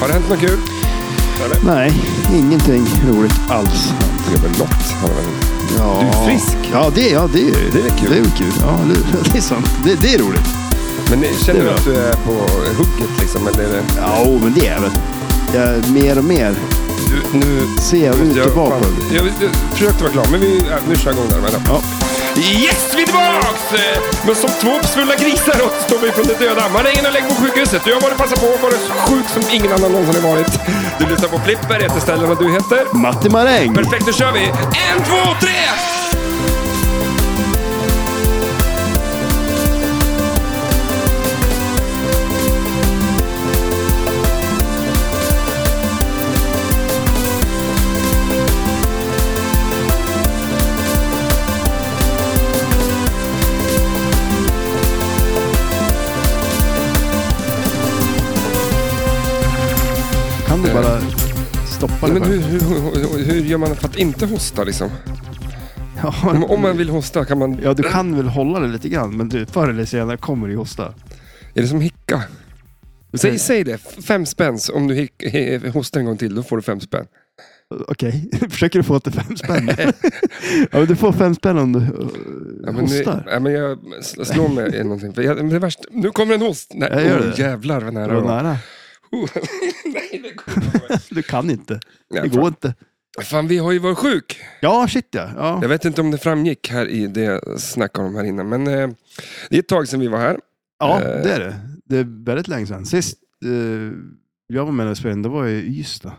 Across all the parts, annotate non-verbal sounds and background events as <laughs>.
Har det hänt något kul? Eller? Nej, ingenting roligt alls. Det är väl något. Har det väl... Ja. Du är frisk. Ja, det, ja, det, är, Det är kul. Det är kul. Ja, eller hur? det <laughs> är sant. Det, det är roligt. Men eh, känner Det du är att du är på hugget liksom? Eller är det... Ja, jo, men det är väl. Jag, mer och mer Du, nu... ser jag ut Jag, och bak på jag, jag försökte vara klar, men vi, ja, nu kör jag igång där. Vänta. Ja. Yes, vi är tillbaks! Eh, Men som två uppsvullna grisar återstår vi från de döda. Marinen har lägg på sjukhuset. Jag har varit passa på och varit så sjuk som ingen annan någonsin har varit. Du lyssnar på Flipper, heter ställen vad du heter. Matti Maräng. Perfekt, då kör vi! En, två, tre! Kan du bara stoppa det? Men bara? hur, hur, hur, hur gör man för att inte hosta liksom? Ja, Om, om man vill hosta kan man... ja, du kan väl hålla det lite grann, men du, förr eller senare kommer du hosta. Är det som hicka? Eh. Säg, säg det, F- fem spänn. så Om du hick, he- hostar en gång till, då får du fem spänn. Okej, <laughs> försöker du få till <laughs> fem spänn? ja, men du får fem spänn om du uh, Ja, men, nu, hostar. ja, men jag sl- slår mig i någonting. För jag, men det är värst, nu kommer en host! Nej, Jag gör oh, det. jävlar vad nära Det var det var. nära. Oh, Nej, det kommer Du kan inte. Det Nej, går inte. fan, fan, vi har ju varit sjuk. Ja, shit ja. ja. Jag vet inte om det framgick här i det jag snackade om här innan. Men eh, det är ett tag sedan vi var här. Ja, Eh. det är det. Det är väldigt länge sedan. Sist eh, jag var med och spelade in, det var i Ystad.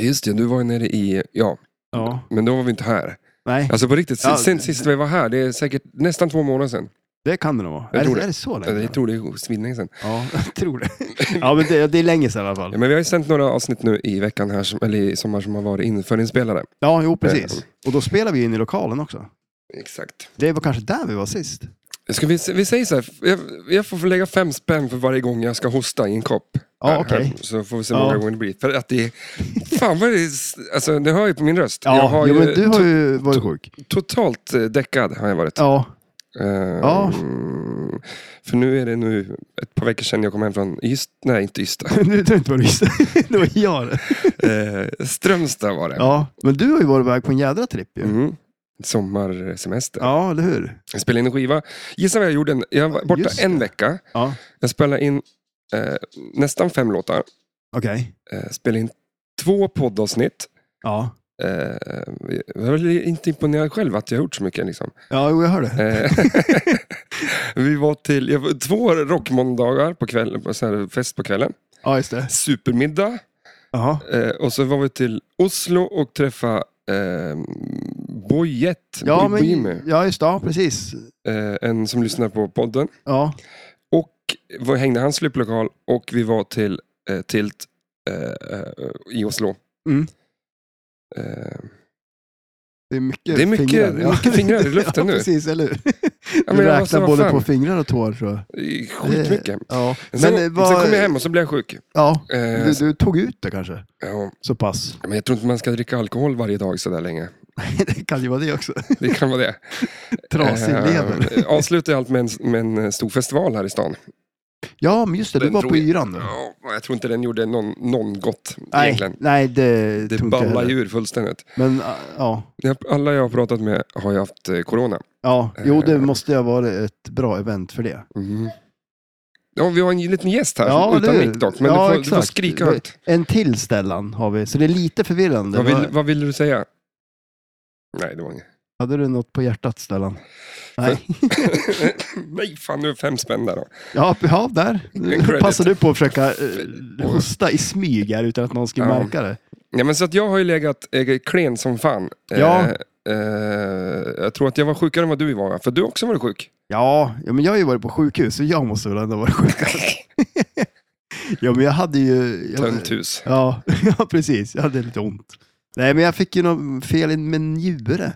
Just det, du var ju nere i... Ja, Ja. men då var vi inte här. Nej, Alltså på riktigt, Ja, ja, sen det- sist vi var här, det är säkert nästan två månader sedan. det kan det nog vara. Jag Är tror det, det. är det så länge? Jag tror det är svinlänge sedan. Ja, <laughs> jag tror det. Ja, men det, det är länge sedan i alla Ja, fall. men vi har ju sänt några avsnitt nu i veckan här, som, eller i sommar som har varit införinspelade. Eh, Ja, jo precis. Och då spelade vi in i lokalen också. Exakt. Det var kanske där vi var sist. Ska vi, vi säger så här, jag, jag får lägga fem spänn för varje gång jag ska hosta i en kopp. Ja, Här- okej. här, Så får vi se hur Ja. många gånger det blir. För att det är, fan vad det är, alltså det hör ju på min röst. jag Ja, har jo, ju, men du har ju varit sjuk. to- totalt eh, däckad har jag varit. Ja, <laughs> Ehm, Ja. För nu är det nu ett par veckor sedan jag kom hem från Ystad, nej inte Ystad, <laughs> nu tror jag inte vad du visste. <laughs> Det var jag. eh, Strömstad var det. Ja, men du har ju varit iväg på en jädra tripp ju. Mm. Sommarsemester. Ja, eller hur? Jag spelade in en skiva. Gissa vad jag gjorde? en- Jag var Ja, borta just en det. vecka. Ja, Jag spelade in eh, nästan fem låtar. okej. Eh, spelade in två poddavsnitt. Ja. Eh, jag var väl inte imponerad själv att jag gjort så mycket. Liksom. ja, jo, jag hör det. Eh, <laughs> vi var till jag var, två rockmåndagar på kvällen, på så här fest på kvällen. Ja, just det. Supermiddag. Jaha. Eh, och så var vi till Oslo och träffade eh, Bojet, Ja, Boy men, Boime, ja, just det. Ja, precis. eh, en som lyssnar på podden. Ja, Och vi hängde i hans slipplokal och vi var till eh, Tilt eh, eh, i Oslo. Mm. Eh, det är mycket Det är mycket- fingrar. Ja. mycket fingrar i luften <laughs> ja, nu. precis, eller hur? ja, Du men jag var så, räknar vad både fan, på fingrar och tår tror jag. eh, Skitmycket. Ja, Men sen, eh, vad- sen kom jag hem och så blev jag sjuk. ja. Eh, Du, du tog ut det kanske? ja, Så pass. <laughs> men jag tror inte man ska dricka alkohol varje dag sådär länge. det kan ju vara det också. Det kan vara <laughs> det. Trasig lever. Eh, avslutade allt med en, med en eh, stor festival här i stan. Ja, men just det. Du den var drog på jag- yran då. Ja, jag tror inte den gjorde någon, någon gott Nej, egentligen. nej, det, Det tror inte jag ballar heller. ju ur fullständigt. Men ah, ja, Jag- Alla jag har pratat med har ju haft eh, corona. ja, jo Eh. det måste ju ha varit ett bra event för det. Mm. Ja, vi har en liten gäst här, Ja, utan det är- mick dock. Men ja, du, får, du får exakt. skrika högt. En till Stellan har vi, så det är lite förvirrande. Vad vill, Vad- vad vill du säga? Nej, det var inget. <laughs> Hade du något på hjärtat Stellan? Nej. Nej, fan nu är fem spänn där då. Ja, ja där. credit. Passar du på att försöka eh, hosta i smyg här utan att någon skulle Ja. märka det? Ja, men så att jag har ju legat eh, klen som fan. Eh, Ja. eh, jag tror att jag var sjukare än vad du var, för du har också varit <laughs> sjuk. Ja, ja, men jag har ju varit på sjukhus så jag måste väl ändå vara sjuk. ja, men jag hade ju... Jag, Tömt hus. ja, <laughs> ja, precis. Jag hade lite ont. Nej, men jag fick ju något fel i min njure.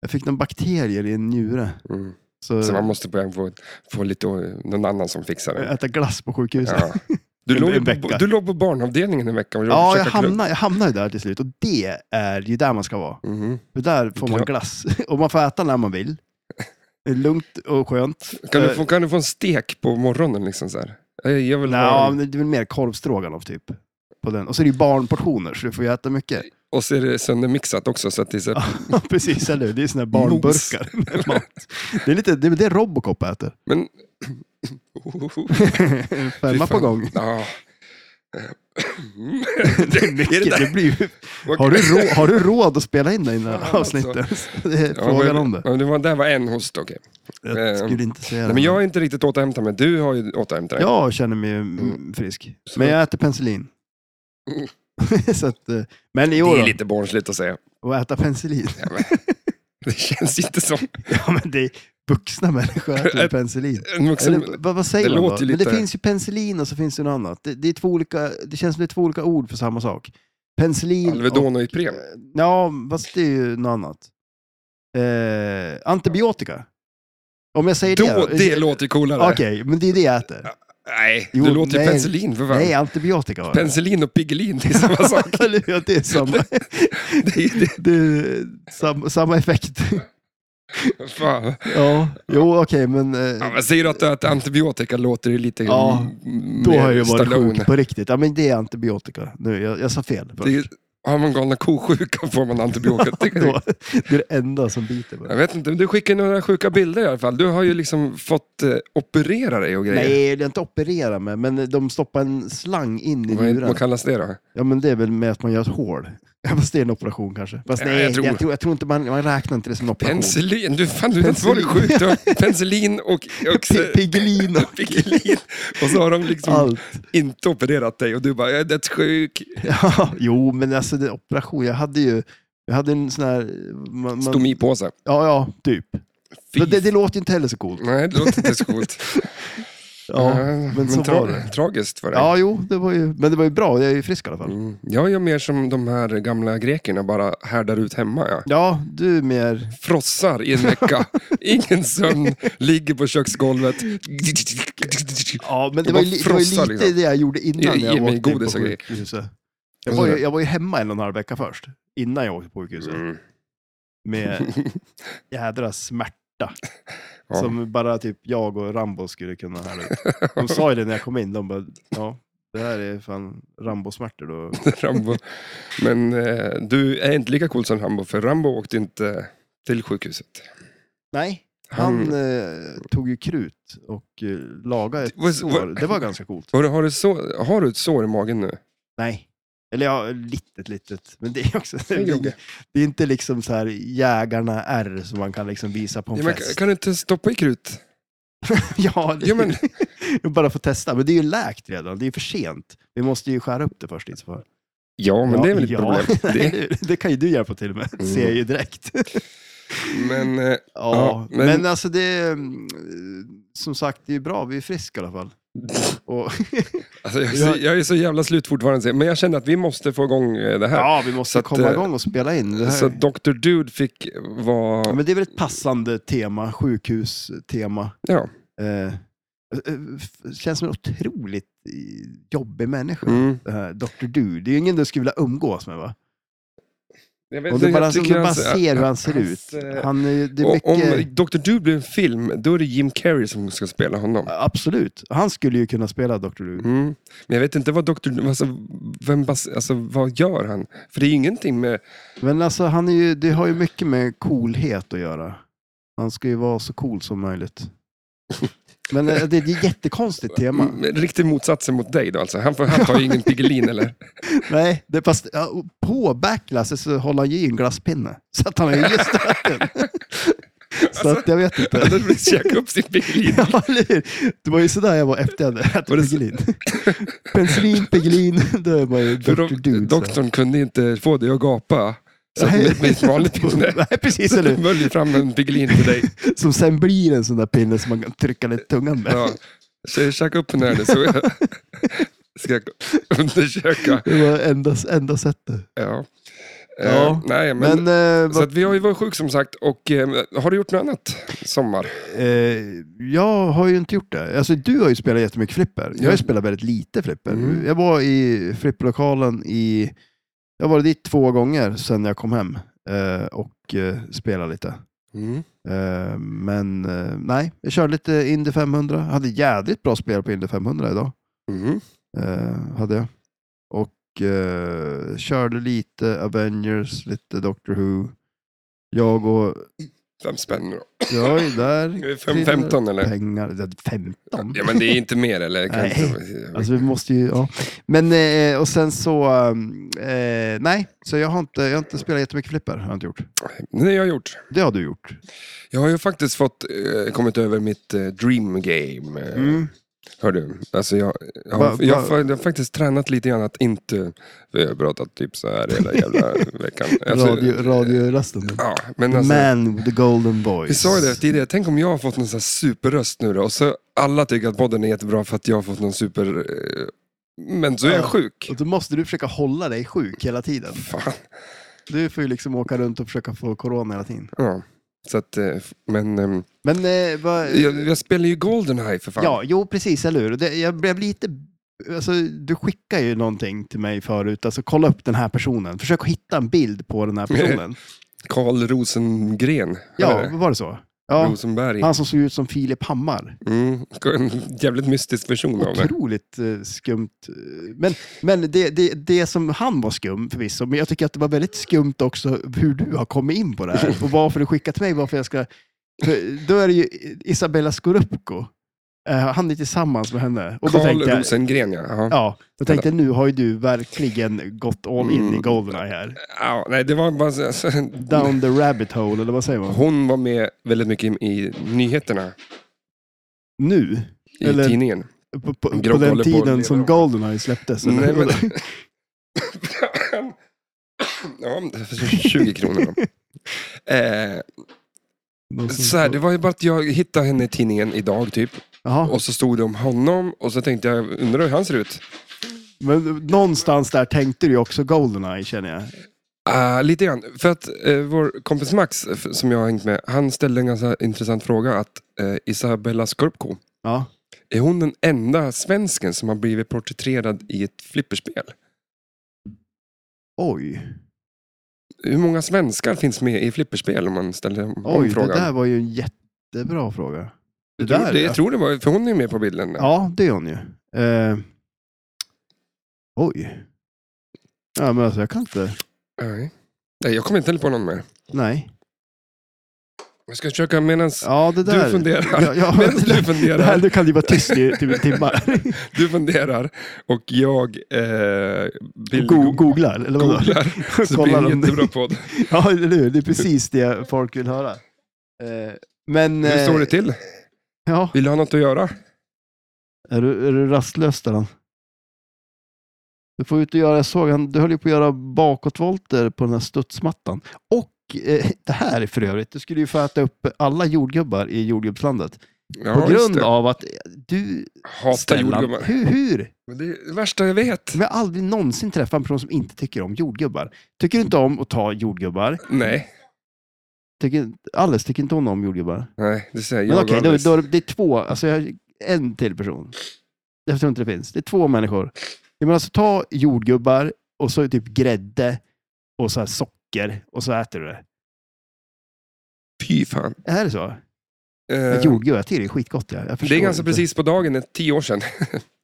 Jag fick någon bakterier i en njure. Mm. Så, Så man måste börja få, få lite, eh, någon annan som fixar det. äta glass på sjukhuset. Ja, Ja. Du, <laughs> En- en låg på, vecka. du låg på barnavdelningen en vecka. Och jag, försökte- hamnar, jag hamnar ju där till slut och det är ju där man ska vara. Mhm. För där får man Gra- glass <laughs> och man får äta när man vill. Det är lugnt och skönt. Kan, du Eh, få, kan du få en stek på morgonen? Liksom så här? Eh, Jag vill Nå, ha... men det är väl mer korvstroganoff typ. På den. Och så är det ju barnportioner, så du får ju äta mycket. Och så är det söndermixat också. Så att det är så... här- <laughs> Ja, Precis, eller hur? Det är såna här barnburkar. med mat. det är lite det, är väl det Robocop <laughs> äter. Men... Fy <laughs> Femma fan. på gång. Ja. <laughs> Det, är mycket, där- det, blir <laughs> ju... har, du rå, har du råd att spela in det innan Ja, avsnittet? <laughs> Det är Ja, frågan men- om det. ja, det var, där var en host, okej. Eh, Jag skulle inte säga Nej, det. men jag är inte riktigt återhämtad, men du har ju återhämtat dig. Jag känner mig mm, frisk. Så- Men jag äter penicillin. <laughs> Mm. så att, eh, men i det år är då, lite barnsligt att säga. att äta penicillin. Ja, men, det känns inte som... <laughs> Ja, men det är vuxna människor <laughs> äter ju penicillin. En vuxen... Eller, vad, vad säger det man då? låter ju Men det lite- finns ju penicillin och så finns det något annat. Det, det, är två olika, det känns som det är två olika ord för samma sak. Penicillin och... Alvedon och Ipren. Ja, fast det är ju något annat. Eh, antibiotika. Om jag säger Då, det. det låter ju coolare. Okej, men det är det jag äter. Nej, Jo, det låter ju nej. penicillin för fan. Nej, antibiotika var det. Penicillin och Piggelin, det är <laughs> samma sak. Eller hur? det är samma, Det är, det, det är sam, samma <laughs> effekt. fan. ja, jo okej, men eh, Ja, men säger du att, att antibiotika låter ju lite Ja, m- då mer har jag ju varit Stallone. sjuk på riktigt. Ja, men det är antibiotika. Nu, jag, jag sa fel. Det är, har man galna ko-sjukan får man <laughs> <laughs> antibiotika. Då, det är det enda som biter på Jag vet inte, men du skickar några sjuka bilder i alla fall. Du har ju liksom fått eh, operera dig och grejer. Nej, det är inte operera med, men de stoppar en slang in i vad, är- njuren. vad kallas det då? Ja, men det är väl med att man gör ett hål. <laughs> Ja, fast det är en operation kanske. Fast Ja, nej, jag jag tror- tror, jag tror, inte man, man räknar inte det som en operation. Penicillin, du, fan, du vet vad det är Penicillin. sjukt. Du har Penicillin <laughs> och, och P- <laughs> Piggelin och Piggelin. Och så har de liksom allt. <laughs> inte opererat dig och du bara, jag är dödssjuk. Ja, jo, men alltså det, operation. Jag hade ju jag hade en sån här... Man, man, Stomipåse. Ja, ja, typ. Fy Men Det, det låter ju inte heller så coolt. Nej, det låter inte så coolt. <laughs> Ja, Eh, men men så tra- var det. Tragiskt för dig. Ja, jo, det var ju, men det var ju bra. Jag är ju frisk i alla fall. Mm. Jag gör mer som de här gamla grekerna, bara härdar ut hemma. Ja. Ja, du är mer... Frossar i en <laughs> vecka, ingen sömn, ligger på köksgolvet. Mm. Ja, men det Jag bara var ju, li- det var ju frossar, lite liksom. det jag gjorde Ge- innan ge jag mig åkte in på godis och grejer. sjukhuset. Jag var, ju, jag var ju hemma en och en halv vecka först, innan jag åkte på sjukhuset. Mm. <laughs> Med jädra smärta <laughs> Ja. som bara typ jag och Rambo skulle kunna härda ut. De sa ju det när jag kom in, de bara, ja, det här är fan Rambo-smärtor då. <laughs> Rambo. Men eh, du är inte lika cool som Rambo, för Rambo åkte inte till sjukhuset. Nej, han Han, eh, tog ju krut och eh, lagade ett Vad- sår. vad- Det var ganska coolt. Har, du, har, du så, har du ett sår i magen nu? Nej. Eller ja, litet, litet. Men det är också... Säg, Grogge. Det är inte liksom så här jägarna R som man kan liksom visa på en Ja, men, fest. kan du inte stoppa i krut? <laughs> ja, det, Ja, men, bara få testa. Men det är <laughs> ju läkt redan, det är ju för sent. Vi måste ju skära upp det först i så fall. ja, men Ja, det är väl ett <laughs> ja. problem. Det, Det... kan ju du hjälpa till med, Mm. ser jag ju direkt. <laughs> ja, men eh, Ja, men- men... alltså det är... mm, Som sagt, det är ju bra, vi är friska i alla fall. Och... Alltså, jag, är så, jag är så jävla slut fortfarande, men jag kände att vi måste få igång eh, det här. ja, vi måste Så att, komma eh, igång och spela in. Det här... Så Dr. Dude fick Ja, vara... Men det är väl ett passande tema, sjukhustema. Ja. Eh, eh, f- känns som en otroligt eh, jobbig människa. Mm. Det här Dr. eh, Du. Det är ju ingen du skulle vilja umgås med va? Jag vet Om du inte, bara, jag om tycker du bara hans- ser hur han ser hans, ut. eh, Han är, ju- alltså det är och mycket, Om Dr. Dude blir en film, då är det Jim Carrey som ska spela honom. Absolut. Han skulle ju kunna spela Dr. Du. Mm. Men jag vet inte vad Dr. Dude- Alltså, vem bas, alltså, vad gör han? För det är ju ingenting med... Men alltså, han är ju, det har ju mycket med coolhet att göra. Han ska ju vara så cool <laughs> som möjligt. Men eh, det är ett jättekonstigt tema. Mm, Riktig motsatsen mot dig då alltså. Han, får, han tar ju ingen <laughs> Piggelin eller... Nej, det, fast ja, och på backlasset så håller han ju i en glasspinne. Så att han har <laughs> ju just den. Alltså, Så att jag vet inte. Han hade käkat upp sin Piggelin. <laughs> Ja, eller hur? Det var ju sådär jag var efter jag hade Var det så- ätit Piggelin. Penicillin, Piggelin, då är man ju För Dr. do, Dude. doktorn kunde inte få dig att gapa. Så att Nej. med, med ett vanligt <laughs> pinne. Nej, precis. Så Eller? du hur? möljde fram en Piggelin till dig. Som sen blir en sån där pinne som man kan trycka lite tungan med. Ja. Så käka upp den här nu så <laughs> jag ska jag undersöka. Det var enda, enda sättet. Ja. Ja, Eh, nej, men, Men, eh, så vad, att vi har ju varit sjuka som sagt. Och eh, har du gjort något annat sommar? eh, jag har ju inte gjort det. Alltså, du har ju spelat jättemycket flipper. Jag har ju spelat väldigt lite flipper. Mm. Jag var i flipperlokalen i... Jag var dit två gånger sedan jag kom hem eh, och eh, spelade lite. Mm. Eh, men eh, nej, jag körde lite Indy 500. Hade jädrigt bra spel på Indy 500 idag. Mm. Eh, hade jag. Och eh, körde lite Avengers, lite Doctor Who. Jag och... Fem spänn då. Jag är Är där. det fem- 15 eller? Pengar. Det är 15? Ja men det är inte mer eller? Det kan Nej. inte- Alltså vi måste ju, ja. Men eh, och sen så, um, eh, nej, så jag har, inte, jag har inte spelat jättemycket flipper. Har jag inte gjort. Det har jag gjort. Det har du gjort. Jag har ju faktiskt fått, eh, kommit över mitt eh, dream game. Eh, Hör du? Alltså jag, jag, har, Mm. Va- va- jag, har- jag har faktiskt tränat lite grann att inte... Vi har pratat typ så här hela <laughs> jävla veckan. Alltså, Radio, radiorasten. Ja, men alltså, Man with the golden voice. vi sa ju det tidigare, tänk om jag har fått någon sån här superröst nu då. Och så alla tycker att podden är jättebra för att jag har fått någon super... eh, Men så är jag Ja. sjuk. Och då måste du försöka hålla dig sjuk hela tiden. Fan. Du får ju liksom åka runt och försöka få corona hela tiden. Ja. Så att, eh, men ehm, Men eh, vad... jag, jag spelar ju Goldeneye för fan. Ja, jo precis, eller hur? Det, jag blev lite... Alltså, du skickar ju någonting till mig förut. Alltså, kolla upp den här personen. Försök att hitta en bild på den här personen. Karl Rosengren. eller? Ja, var det så? Ja, Rosenberg. han som såg ut som Filip Hammar. Mm. En jävligt mystisk version av mig. Otroligt eh, skumt. eh, Men, men det, det, det som han var skum förvisso, men jag tycker att det var väldigt skumt också hur du har kommit in på det här och varför du skickat till mig, varför jag ska... För då är det ju Isabella Scorupco. Eh, han är tillsammans med henne. Och då Karl tänkte jag, Rosengren, ja. ja. ja, då tänkte jag, nu har ju du verkligen gått all in Mm. i Goldeneye här. Ja, nej, det var bara... så- Alltså, Down the rabbit hole, eller vad säger man? hon var med väldigt mycket i nyheterna Nu, i Eller- tidningen. på, på, på Grogg håller den på att leva tiden som om. Goldeneye släpptes. Nej, eller? men- <laughs> ja, 20 kronor <laughs> då. Eh, Någon som- så här, det var ju bara att jag hittade henne i tidningen idag typ. Jaha. Och så stod det om honom och så tänkte jag, undrar hur han ser ut? Men någonstans där tänkte du ju också Goldeneye känner jag. Ah, lite grann. För att eh, vår kompis Max, f- som jag har hängt med, han ställde en ganska intressant fråga. att eh, Isabella Scorpco, Ja. är hon den enda svensken som har blivit porträtterad i ett flipperspel? Oj, Hur många svenskar finns med i flipperspel om man ställer om oj det frågan? där var ju en jättebra fråga. Det jag, tror, där, det, ja. jag tror det var, för hon är ju med på bilden. där. Ja, det är hon ju. Eh, oj. Ja, men alltså jag kan inte. Nej. Nej, jag kommer inte heller på någon mer. Nej. Jag ska försöka medans Ja, det där. du funderar. Ja, <laughs> ja, Medan det du där- Det här, funderar, nu kan du vara tyst i <laughs> typ timmar. du funderar och jag eh, vill Go- googlar, eller vadå? <laughs> googlar. Så blir det Kollar en om- jättebra podd. <laughs> Ja, eller hur? Det är precis det folk vill höra. Eh, men... eh, Hur står det till? Ja. Vill du ha något att göra? Är du, är du rastlös där? han? Du får ut och göra, jag såg han, du höll ju på att göra bakåtvolter på den här studsmattan. Och eh, <laughs> det här är för övrigt, du skulle ju få äta upp alla jordgubbar i jordgubbslandet. Ja, på just grund det. av att eh, du, Hatar Stellan, jordgubbar. hur, hur? Men Det är det värsta jag vet. Men jag har aldrig någonsin träffat en person som inte tycker om jordgubbar. Tycker du inte om att ta jordgubbar? Nej, Tycker, Alice tycker inte hon om jordgubbar? nej det säger jag. Men och okej, då, Alice. då, det är två, alltså jag, en till person. Jag tror inte det finns. Det är två människor. Jag menar, alltså, ta jordgubbar och så typ grädde och så här socker och så äter du det. Fy fan. Är det så? Eh, Men jordgubbar, jag tycker det är skitgott. Jag, jag det förstår är ganska inte. precis på dagen, eh, tio år sedan.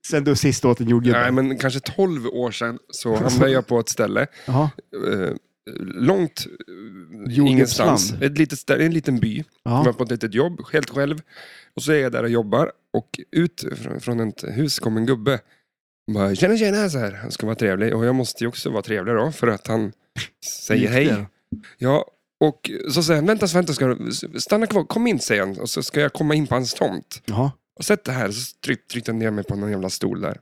Sen du sist åt en jordgubbe? Nej, men kanske 12 år sedan så hamnade jag på ett ställe. Jaha. Eh, långt eh, Jordgubbsland. ingenstans. Ett litet ställe, en liten by. Jag var Ja. på ett litet jobb, helt själv. Och så är jag där och jobbar. Och ut fr- från ett hus kom en gubbe. Han bara, tjena tjena, så här. Han ska vara trevlig. Och jag måste ju också vara trevlig då, för att han säger Gick hej. det? Ja, och så säger han, vänta, vänta, ska du, stanna kvar, kom in säger han. Och så ska jag komma in på hans tomt. Jaha. Och sätt det här, så tryck, tryckte han ner mig på någon jävla stol där.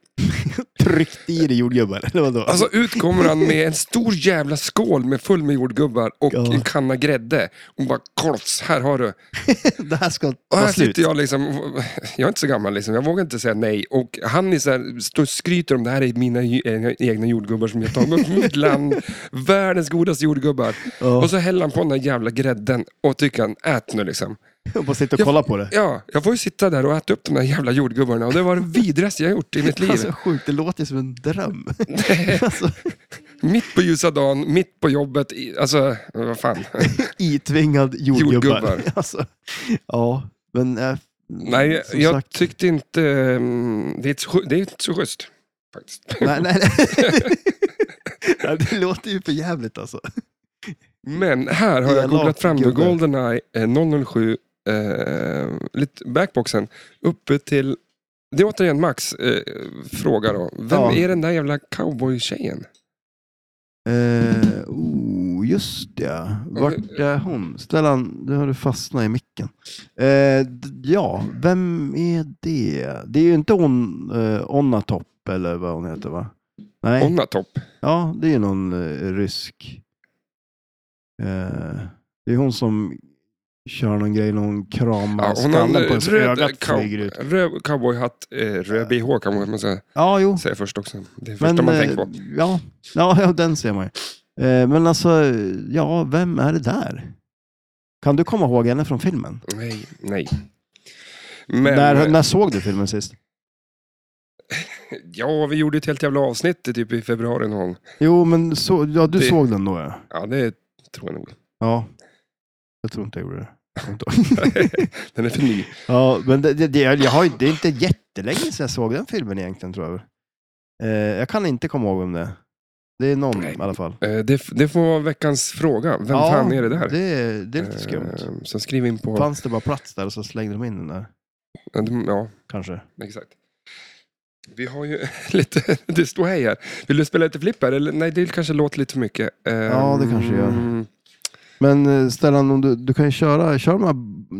Tryckte i dig jordgubbar, eller vadå? Alltså ut kommer han med en stor jävla skål med full med jordgubbar och Ja. en kanna grädde. Och bara, korvs, här har du. det här ska Och vara här slut. sitter jag liksom, jag är inte så gammal liksom, jag vågar inte säga nej. Och han är så här, står och skryter om det här är mina ju- egna- egna jordgubbar som jag tagit upp från mitt <laughs> land. Världens godaste jordgubbar. Ja. Och så häller han på den här jävla grädden och tycker han, ät nu liksom. Jag bara sitter och kollar på det. Ja, jag får ju sitta där och äta upp de där jävla jordgubbarna <laughs> och det var det vidrigaste jag gjort i mitt liv. <laughs> Alltså, sjukt, det låter som en dröm. alltså, mitt på ljusa dagen, mitt på jobbet. i- Alltså, vad <laughs> fan. Itvingad jordgubbar. Jordgubbar. <laughs> Alltså, ja, men eh, Nej, som jag sagt. tyckte inte... mm, Det är inte så, det är inte så schysst. Faktiskt. Nej, nej, nej. <laughs> Ja, det låter ju för jävligt alltså. Men här har jag Elak googlat fram nu. gubbe. Goldeneye eh, 007, eh, lite backboxen, uppe till... Det är återigen Max eh, fråga då. Vem Ja. är den där jävla cowboy-tjejen? Eh, oh, just det. Vart är hon? Stellan, nu har du fastnat i micken. Eh, d- ja, vem är det? Det är ju inte hon, eh, Onnatopp eller vad hon heter va? Nej, Onnatopp. ja, det är ju någon eh, rysk. Eh, det är hon som kör någon grej när hon kramar Ja, hon har en skallen på ens ögat röd flyger cow- ut. röd cowboyhatt, eh, röd bh kan man säga, Ja, jo. säga först också. Det är första man eh, tänker på. Ja, ja, ja, den ser man ju. Eh, Men alltså, ja, vem är det där? Kan du komma ihåg henne från filmen? Nej, nej. Men, När, när såg du filmen sist? ja, vi gjorde ett helt jävla avsnitt i typ i februari någon gång. Jo, men så, ja, du Det- såg den då ja. Ja, det tror jag nog. <laughs> Ja. Jag tror inte jag gjorde det. Jag tror inte. <laughs> Den är för ny. ja, men det, det, det, jag har, ju- det är inte jättelänge sedan jag såg den filmen egentligen tror jag. Eh, Jag kan inte komma ihåg om det. Det är någon Nej. i alla fall. Eh, Det, det får vara veckans fråga. Vem Ja, fan är det där? Det, det är lite skumt. Eh, Så skriv in på... Fanns det bara plats där så slängde de in den där, Ja, kanske? exakt. Vi har ju <laughs> lite... Det står hej här. Vill du spela lite flipper? Eller, nej, det kanske låter lite för mycket. Eh, Ja, det kanske gör. mm, Men eh, Stellan, om du, du kan ju köra, kör de här,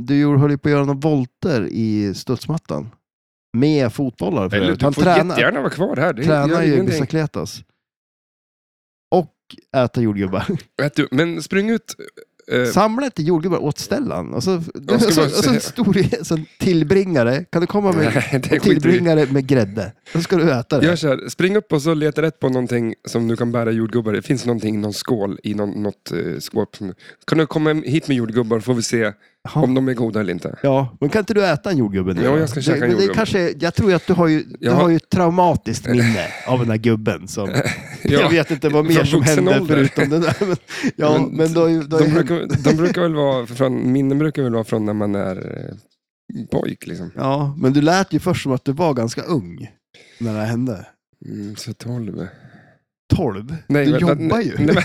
du gjorde- höll ju på att göra några volter i studsmattan. Med fotbollar för Eller övrigt. du Han får tränar, jättegärna vara kvar här. Det tränar gör ju ingenting. bicicletas. Och äta jordgubbar. Vet du, Men spring ut. eh, Samla inte jordgubbar åt Stellan. Och så, <laughs> ska och så, bara och så säga- en stor <laughs> så en tillbringare. Kan du komma med Nej, <laughs> det en skiter vi i. tillbringare med grädde? Då ska du äta det. Gör så här, spring upp och så leta rätt på någonting som du kan bära jordgubbar i. Finns någonting i någon skål i någon, något eh, skåp? som- Kan du komma hit med jordgubbar får vi se Ja. om de är goda eller <laughs> inte. Ja, men kan inte du äta en jordgubbe nu? Jo, då? jag ska käka en men det är jordgubbe. kanske, Jag tror ju att du har ju, du Jag har- har ju ett <laughs> traumatiskt minne av den där gubben. Som, <laughs> Jag vet inte vad mer från som vuxen hände ålder. förutom det där. Men, ja, men, Men då, har ju- då, har De ju hänt- brukar, de brukar väl vara från, minnen brukar väl vara från när man är eh, pojk liksom. ja, men du lät ju först som att du var ganska ung när det här hände. Mm, så 12. 12? Nej, du vänta, jobbar nej, ju. nej, men-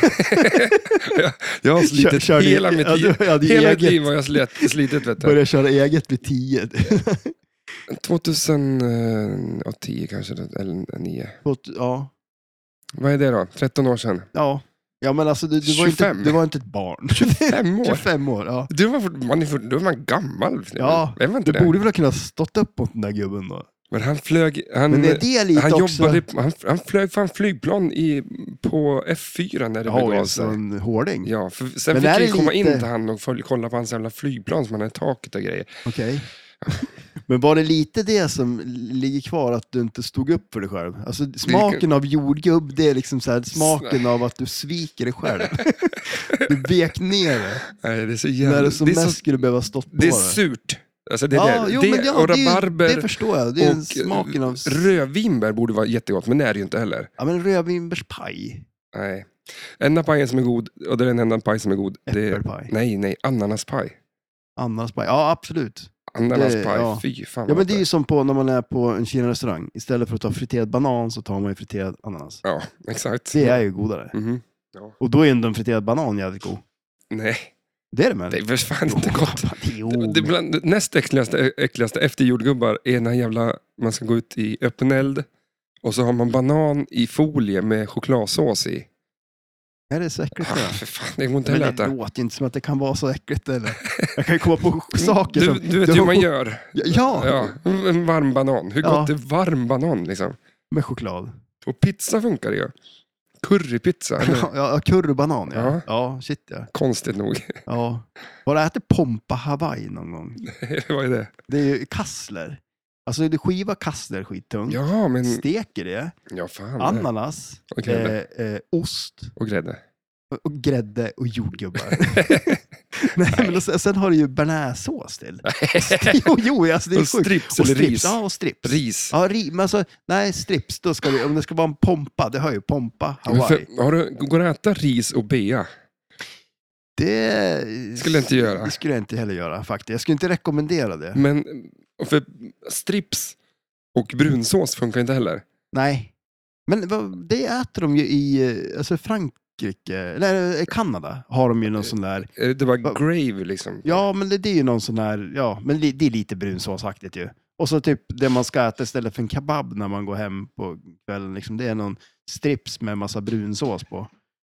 <laughs> jag, jag har slitit Kör- körde- hela mitt ja, liv. du hade ju Hela mitt eget. liv har jag slit, slitit vet du. Började köra eget vid <laughs> 10. 2010 eh, kanske, eller 9. På ett- ja, Vad är det då? 13 år sedan? ja. ja, men alltså du, du, var, ju inte, 25. du var inte <laughs> ett barn. <laughs> 5 år? 25 år, ja. Du var, fort- man är, fort- då är man gammal. Ja, jag var inte Du det. borde väl ha kunnat stått upp mot den där gubben då. Men han flög, han, Men är det lite han, också... jobbade, han, han flög fan flygplan i, på F4 när det Ja, begav alltså sig. en hårding. Ja, för sen Men fick är vi det komma in lite- till han och följ, kolla på hans jävla flygplan som han hade i taket och grejer. Okej. <laughs> Men var det lite det som ligger kvar, att du inte stod upp för dig själv? Alltså smaken av jordgubb, det är liksom så här, smaken av att du sviker dig själv. <laughs> Du vek ner det Nej, det är så när jävla... du som det, är mest så, skulle behöva stått på det är det. surt. Alltså det är ja, det. jo, det men ja, och det är ju- rabarber Det förstår jag. Det är och, en smaken av... rödvinbär borde vara jättegott, men det är det ju inte heller. Ja, men rödvinbärspaj. Nej. Enda pajen som är god, och det är den enda paj som är god, det är... Äppelpaj. Nej, nej, ananaspaj. Ananaspaj. Ja, absolut. Ananaspaj, Det- ja. fy fan Ja, vad men det är ju som på när man är på en Kina-restaurang. Istället för att ta friterad banan så tar man ju friterad ananas. Ja, exakt. Det är ju godare. Mhm. Och då är ju ändå en friterad banan jävligt god. Nej, Det är det med. det är för fan inte gott. Jo, Det är bland, det näst äckligaste, äckligaste efter jordgubbar är när jävla, man ska gå ut i öppen eld och så har man banan i folie med chokladsås i. är det så äckligt Ah, det? för fan, det går inte Men heller det att äta. låter ju inte som att det kan vara så <laughs> äckligt eller? Jag kan ju komma på saker Mm, Du, som... du <laughs> vet har hur man chok- gör. Ja, Ja, en varm banan. Hur Ja. gott är varm banan liksom? med choklad. Och pizza funkar ju. Currypizza. eller? <laughs> Ja, ja, curry och banan ja. Ja. ja. shit ja. Konstigt nog. <laughs> ja. Har du ätit pompa hawaii någon gång? Vad är det? Det är ju kassler. Alltså du skivar kassler skittung, Ja, men... steker det, Mm. Ja, fan. ananas, Och eh, grädde. eh, ost, Och grädde. och grädde och jordgubbar. <laughs> Nej, men och sen, sen har du ju <laughs> bearnaisesås till. jo, jo, alltså <laughs> det är Och sjukt. strips och eller strips. ris? Ja, och strips. Ris. Ja, ri, men alltså, nej, strips, då ska det, om det ska vara en pompa, det hör ju pompa, Men Hawaii. För, har du, går det att äta ris och bea? Det Skulle jag inte Mm. göra. Det skulle jag inte heller göra faktiskt. Jag skulle inte rekommendera det. Men och för strips och brunsås funkar inte heller. Nej. Men vad- det äter de ju i eh, alltså Frankrike, eller eh, Kanada har de ju någon sån där. Eh, Det var Va- grave liksom. Ja, men det, det är ju någon sån där, ja, men det, det är lite brunsåsaktigt ju. Och så typ det man ska äta istället för en kebab när man går hem på kvällen, liksom, det är någon strips med massa brunsås på.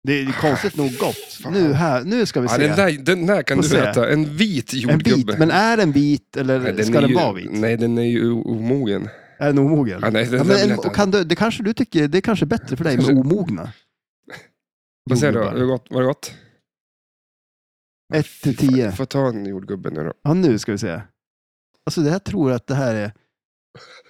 Det är ju konstigt nog gott. Fan. Nu, här, nu ska vi Ja, se. den, där, den där kan Får du se. äta. En vit en jordgubbe. vit, men är den vit eller Nej, ska är den ju, vara vit? Nej, den är ju o- omogen. Är den omogen? Ja, nej, den Ja, där vill men, jag inte och kan du, det kanske du tycker, det är kanske bättre för dig med Kanske- omogna. Vad säger du? jordgubbar. Var det gott? Var det gott? 1 till 10. Får jag ta en jordgubbe nu då? Ja, nu ska vi se. Alltså det här tror jag att det här är...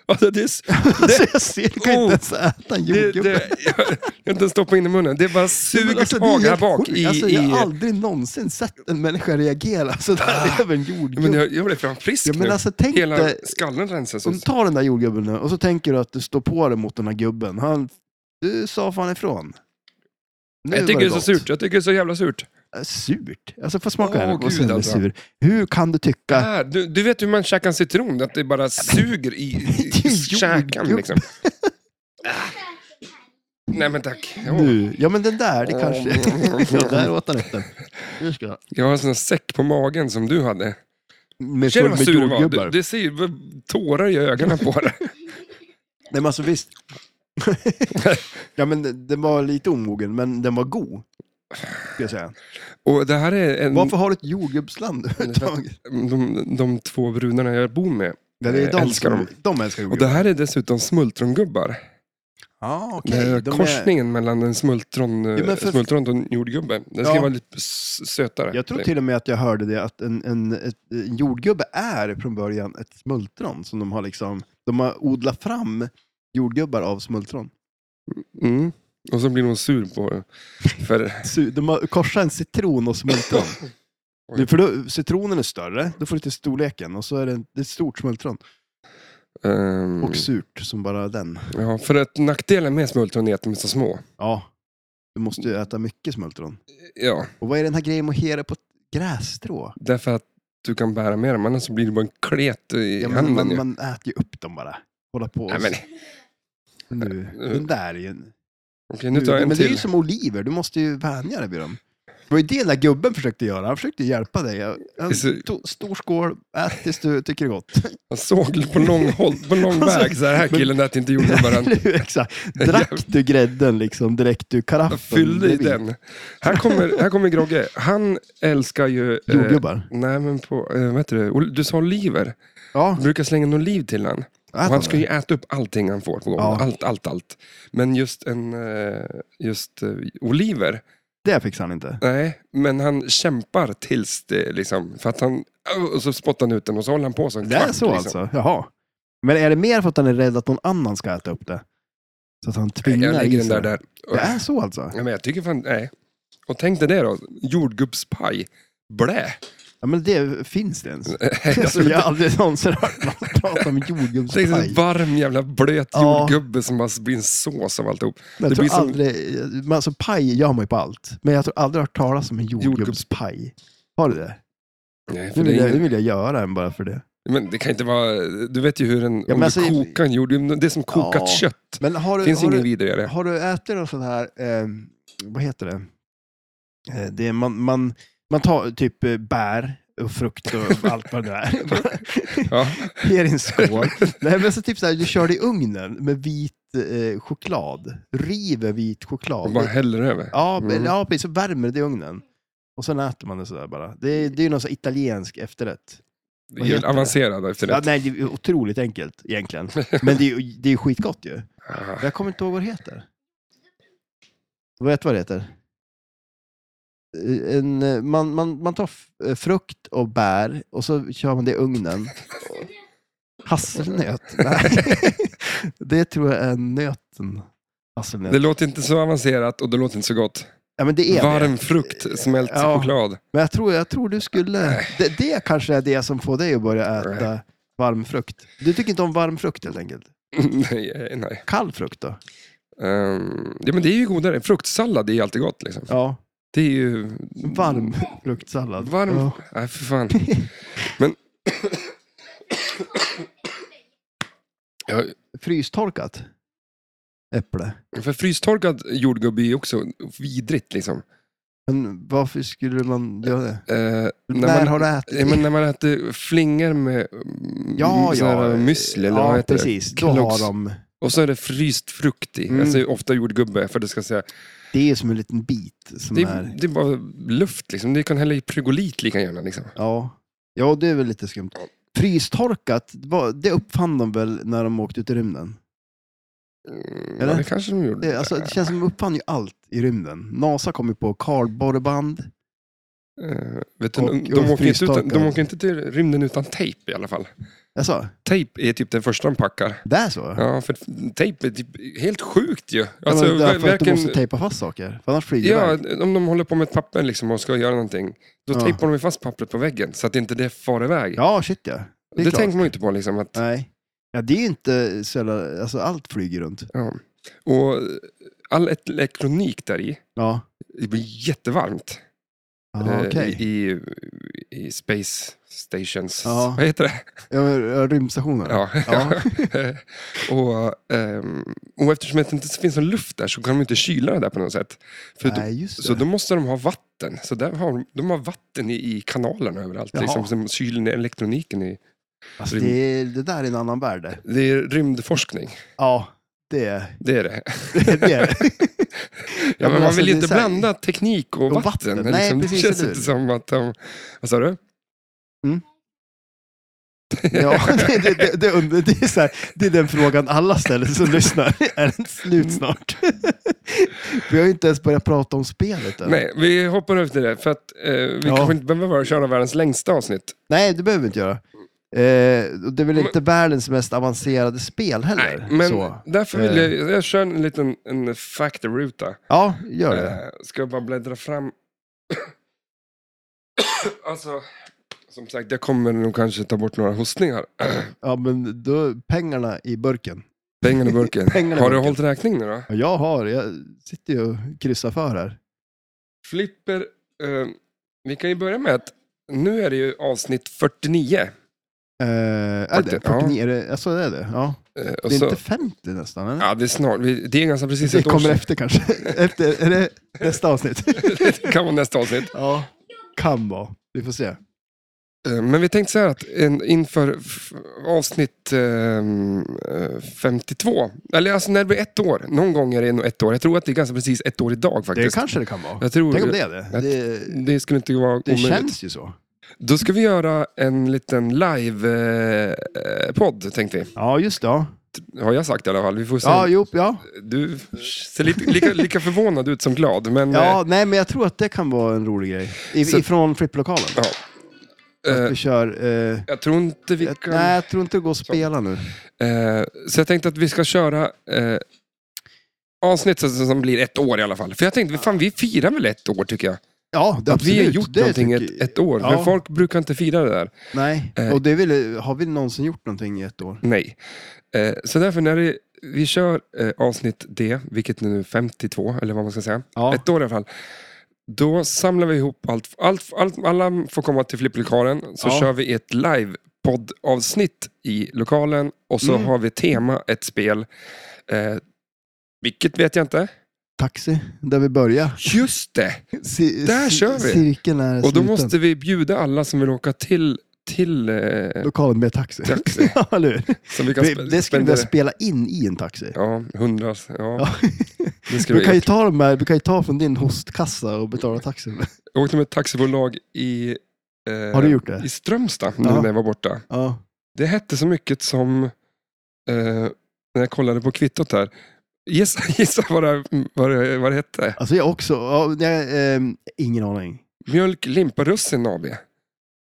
Alltså, det är, s- <laughs> Alltså, jag ser, jag kan Oh. inte ens äta en det, det, jordgubbe. <laughs> jag har inte ens stoppat in i munnen. Det bara suger Men alltså, det är tag här helt bak. sjukt. I, alltså, i, jag har aldrig någonsin sett en människa reagera <laughs> sådär över en Ah. Ja, men jordgubbe. jag, jag blev fan frisk Ja, men nu. alltså tänk Hela dig, skallen rensas om du ut. tar den där jordgubben nu och så tänker du att du står på dig mot den här gubben. Han, du sa fan ifrån. Nu Jag tycker var det är så gott. surt. Jag tycker det är så jävla surt. Äh, Surt? Alltså få smaka Åh, här nu. gud, Och sen är det alltså. sur. Hur kan du tycka Ah, du, du vet hur man käkar en citron? Att det bara suger i, i, Det är i ju käkan. jordgubb. Liksom. <laughs> Ah. Nej men tack. Åh, Nu. Ja, men den där, det Åh. kanske... <laughs> ja, där åt han upp den. Nu ska jag. Jag har en sån här säck på magen som du hade. Med Ser du full vad med sur du var? Du, jordgubbar. du ser ju tårar i ögonen på <laughs> dig. Nej, men <laughs> alltså visst. ja, men den- den var lite omogen, men den var god. Ska jag säga. Och det här är en, Varför har du <laughs> ett Mm, jordgubbsland överhuvudtaget? de, de två brudarna jag bor med. Det är Jag de, älskar som, dem. de älskar Och jordgubbar. det här är dessutom smultrongubbar. ah, det okej. här De är- korsningen mellan en smultron, Ja, men för- för... smultron och en jordgubbe. Den ska Ja. vara lite s- sötare. Jag tror till och med att jag hörde det, att en, en, ett, en jordgubbe är från början ett smultron som de har liksom, de har odlat fram jordgubbar av smultron. Mm. Och så blir hon sur på för Su- De har korsat en citron och smultron. <laughs> Oj. Det- För då, citronen är större, då får du till storleken och så är det, en- det är ett stort smultron. ehm, Och surt som bara den. ja, för att nackdelen med smultron är att de är så små. Ja, du måste ju äta mycket smultron. Ja, Och vad är den här grejen med att hera på ett grässtrå? därför att du kan bära med dem, annars så blir det bara en klet i Ja, men handen. man, ju. man äter ju upp dem bara. Hålla på Nej, och men, nu. Den där är ju... en- okej, nu tar jag en men det är ju till. som oliver, du måste ju vänja dig vid dem. Det var ju det den där gubben försökte göra, han försökte hjälpa dig. Han Så- tog stor skål, ät tills du tycker det <laughs> är gott. Jag såg på lång, håll, på lång <laughs> Alltså, väg, så här, här men- killen äter inte jordgubbar. <laughs> han- Eller hur? Exakt. Drack du grädden liksom direkt ur karaffen? Jag fyllde i bredvid? den. Här kommer, här kommer Grogge. Han älskar ju... eh, Jordgubbar? Nej, men på... Eh, vad heter det? Ol- Du sa oliver. Ja, Jag brukar slänga en oliv till han. äter Och han han ska det? ju äta upp allting han får på gången. Ja. Allt, allt, allt. Men just en... eh, Just eh, oliver. Det fixar han inte. Nej, men han kämpar tills det liksom... För att han... Och så spottar han ut den och så håller han på så en Det är kvart, så liksom. alltså? Jaha. Men är det mer för att han är rädd att någon annan ska äta upp det? Så att han tvingar Jag i lägger den sig där där. Det är så alltså? Ja, men jag tycker fan... Nej. Och tänk dig det då. Jordgubbspaj. <laughs> Blä. Ja, men det finns det ens. Alltså, Alltså, jag har aldrig någonsin hört någon <laughs> prata om Tänk dig en jordgubbspaj. varm jävla blöt Ja. jordgubbe som bara blir en sås av alltihop. Men Jag det tror blir som- aldrig, men alltså paj gör man ju på allt. Men jag tror aldrig jag har hört talas om en jordgubbspaj. Har du det? Nej, för Nu det, vill, är jag, nu ingen... vill jag göra en bara för det. Men det kan inte vara... Du vet ju hur en... men om alltså- du kokar en jordgubbe, det är som kokat Ja. kött. Men har du, Det finns har ingen du, <laughs> vidrigare. Har du ätit någon sån här, eh, vad heter det? Eh, det är man, man, man tar typ eh, bär och <laughs> frukt och allt vad det är. Ja. Ger i en skål. Nej, men så typ så här, du kör det i ugnen med vit eh, choklad. River vit Och choklad. bara häller över. Ja, men- Mm. ja, precis. Så värmer det i ugnen. Och sen äter man det sådär bara. Det är, det är ju någon sån här italiensk efterrätt. det är vad ju heter det? avancerad efter Ja, det. nej, det är otroligt enkelt <laughs> egentligen. Men det är ju det är ju skitgott ju. Ah. Jag kommer inte ihåg vad det heter. Du vet vad det heter? Eh, En, eh, man, man, man tar f- eh, frukt och bär och så kör man det i ugnen. Hasselnöt? Nej. <laughs> Det tror jag är nöten. Hasselnöt. Det låter inte så avancerat och det låter inte så gott. Ja, men det är det. Varm frukt, smält Ja. choklad. <laughs> Men jag tror, jag tror du skulle... Det, det kanske är det som får dig att börja äta varm frukt. Du tycker inte om varm frukt helt enkelt. nej, eh, nej. Kall frukt då? Ehm, ja, men det är ju godare. Fruktsallad är ju alltid gott. Liksom. Ja, Det är ju... varm fruktsallad. Mm. Varm... Ja. Nej, för fan. Men... ja, Frystorkat äpple. för frystorkad jordgubbe är ju också vidrigt. Liksom. Men varför skulle man göra det? Eh, när, När man, har du ätit ja, men när man äter flingor med mm, Ja, sån här ja. müsli, eller vad Ja, heter det? precis. Då Kellogg's. har de... Och så är det fryst frukt i. Mm. Alltså, ofta jordgubbe, för det ska säga. Det är som en liten bit som Det är... är, det är bara luft. Liksom. Du kan hälla i Prygolit lika gärna. Liksom. Ja. ja, det är väl lite skumt. Frystorkat, vad- det uppfann de väl när de åkte ut i rymden? Mm, Eller? Ja, det kanske de gjorde. Det, alltså, det känns som de uppfann ju allt i rymden. NASA kom ju på kardborreband. Eh, vet du, Och- de, och de, åker inte utan, de frystorkad. åker inte till rymden utan tejp i alla fall. Jaså, Tejp är typ den första de packar. Alltså, det är så? Ja, för tejp är typ helt sjukt ju. Alltså, Alltså, ja, men därför att du verkligen- måste tejpa fast saker, för annars flyger det ja, iväg. om de håller på med ett papper liksom och ska göra någonting, då Ja. tejpar de ju fast pappret på väggen så att inte det far iväg. Ja, shit ja. Det, det är klart. tänker man ju inte på. Liksom, att, Nej. Ja, det är ju inte så jävla... Alltså, allt flyger runt. ja. Och all elektronik där i, Ja, det blir jättevarmt. ja eh, okej. i, i Space Stations. Ja. Vad heter det? Ja, men, ja, Rymdstationen? <laughs> Ja. Ja. och, ehm, och eftersom det inte finns någon luft där så kan de inte kyla det där på något sätt. För då, Nej, just det. så då måste de ha vatten. Så där har de, de har vatten i, i kanalerna överallt. Jaha. Liksom, som kyler ner elektroniken. I, alltså, det, är- det där är en annan värld. det. det är rymdforskning. Ja, det är Det är det. det. Är. <laughs> Ja, men men man alltså, vill ju det är inte så här- blanda teknik och, Och vatten. vatten. Nej, precis, det känns eller inte hur? som att de... Vad sa du? <laughs> Ja, det, det, det, det, under- det, är så här, det är den frågan alla ställer som lyssnar. <laughs> Är den Mm. slut snart? <laughs> Vi har ju inte ens börjat prata om spelet än. Nej, vi hoppar över till det. För att eh, vi Ja. kanske inte behöver köra världens längsta avsnitt. Nej, det behöver vi inte göra. Eh, och det är väl inte världens mest avancerade spel heller. Nej, men Så. Eh. därför vill jag, jag kör en liten en factor-ruta. Ja, gör det. Eh, Ska jag bara bläddra fram. <coughs> alltså, som sagt, jag kommer nog kanske ta bort några hostningar. Ja, men då, pengarna i burken. Pengarna i <laughs> burken. Pengarna i Har du burken. hållit räkning nu då? Ja, Jag har, jag sitter ju och kryssar för här. Flipper, eh, vi kan ju börja med att nu är det ju avsnitt 49. Eh, är det 40, 49? Är det, alltså det är det? Ja. Eh, och Det är så, inte 50 nästan? Eller? Ja, det är snart. Vi, det är ganska precis det ett år kommer sedan. <laughs> efter kanske. Efter, är det nästa avsnitt? det <laughs> kan vara nästa avsnitt. Ja, kan vara. Vi får se. Eh, Men vi tänkte så här att en, inför f- avsnitt ehm, eh, 52, eller alltså när det blir ett år, någon gång är det nog ett år. Jag tror att det är ganska precis ett år idag Det faktiskt. kanske det kan vara. Jag tror Tänk om det är det. Det, det skulle inte vara det omöjligt. känns ju så. Då ska vi göra en liten live-podd, tänkte vi. Ja, just det. Ja, Har jag sagt i alla fall. Vi får se. ja jo, ja. Du ser lite, lika, lika förvånad ut som glad. Men, ja nej, men jag tror att det kan vara en rolig grej. I, Så- ifrån flipplokalen. Ja. eh, Att eh, vi kör... Eh, jag tror inte vi ett, kan... nej, jag tror inte det går att spela nu. Eh, så jag tänkte att vi ska köra eh, avsnitt som, som blir ett år i alla fall. För jag tänkte, fan vi firar väl ett år tycker jag. Ja, det, Att absolut. vi har gjort det någonting tycker- ett, ett år. Ja. Men folk brukar inte fira det där. Nej, Eh. och det är väl, har vi någonsin gjort någonting i ett år? Nej. Eh, så därför när det, vi kör eh, avsnitt D, vilket nu är 52 eller vad man ska säga. Ja. Ett år i alla fall. Då samlar vi ihop allt. allt, allt alla får komma till flipplokalen. Så Ja. kör vi ett live poddavsnitt i lokalen. Och så Mm. har vi tema ett spel. Eh, vilket vet jag inte. Taxi, där vi börjar. Just det! Ci- Där ci- kör vi. Cirkeln är Och då sluten. måste vi bjuda alla som vill åka till, till eh, Lokalen med taxi. taxi. <laughs> ja, eller hur? Som vi kan Det, sp- det skulle vi spendera. vilja spela in i en taxi. Ja, hundra. Ja, Ja. det <laughs> skulle Du kan, vi. ju ta de här, du kan ju ta från din hostkassa och betala taxin. Jag åkte med ett taxibolag i, eh, Har du gjort det? i Strömstad nu Ja. när jag var borta. Ja. Det hette så mycket som, eh, när jag kollade på kvittot här, gissa, <laughs> gissa vad, det, vad, det, vad det hette. Alltså jag också. Ja, jag, ehm, ingen aning. Mjölk Limpa Russin AB.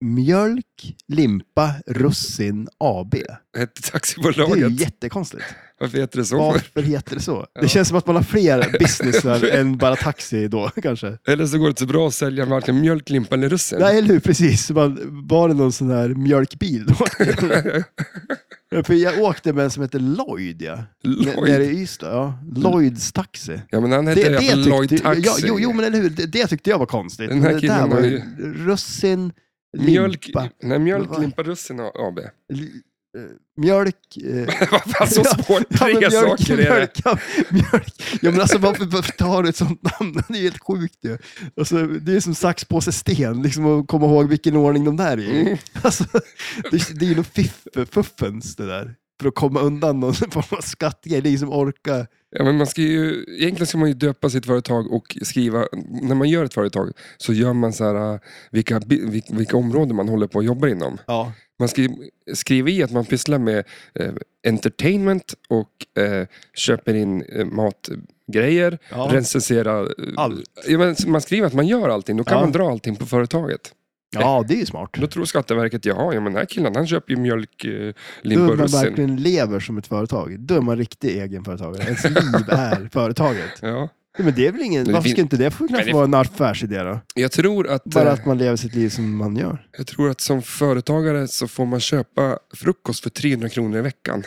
Mjölk, limpa, russin AB. Hette Det är ju taxibolaget. jättekonstigt. Varför heter det så? Varför heter det så? Ja. Det känns som att man har fler businessar <laughs> än bara taxi då kanske. Eller så går det inte så bra att sälja varken mjölk, limpa eller russin. Nej, eller hur? Precis. Man, var det någon sån <laughs> här mjölkbil då? Ja, För jag åkte med en som heter Lloyd, ja. N- Lloyd. Nere i Ystad, ja. Lloyds taxi. Ja, men han hette det, det Lloyd tyckte, Taxi. ja, jo, jo, men eller hur? Det, det tyckte jag var konstigt. Den här det killen där var var ju russin, mjölk, limpa, nej, mjölk, Vad- limpa, russin <laughs> AB. li, eh, mjölk... Eh, Varför så svårt? ja, Tre men saker är det. mjölk, ja, mjölk. Ja, men alltså varför, varför tar du ett sånt namn? Det är ju helt sjukt ju. Alltså, det är som sax, påse, sten, liksom att komma ihåg vilken ordning de där är i. Mm. Alltså, det, det är ju något fiff, fuffens det där. För att komma undan någon <laughs> form av skattgrej. Det är liksom orka. Ja, men man ska ju, egentligen ska man ju döpa sitt företag och skriva, när man gör ett företag så gör man så här, äh, vilka, bi- vilka, vilka områden man håller på att jobba inom. Ja. Man ska ju skriva i att man pysslar med eh, entertainment och eh, köper in eh, matgrejer, Ja. recenserar. eh, Allt. Ja, men man skriver att man gör allting, då kan Ja. man dra allting på företaget. ja, det är ju smart. Då tror Skatteverket, jaha, ja, men den här killen han köper ju mjölk, eh, Då limpa man och russin. verkligen lever som ett företag. Då är man riktig egenföretagare. Ens liv är företaget. Ja. Ja, men det är väl ingen, Men det varför fin- ska inte det få kunna Men det- få vara en affärsidé då? Jag tror att... Bara eh, att man lever sitt liv som man gör. Jag tror att som företagare så får man köpa frukost för 300 kronor i veckan.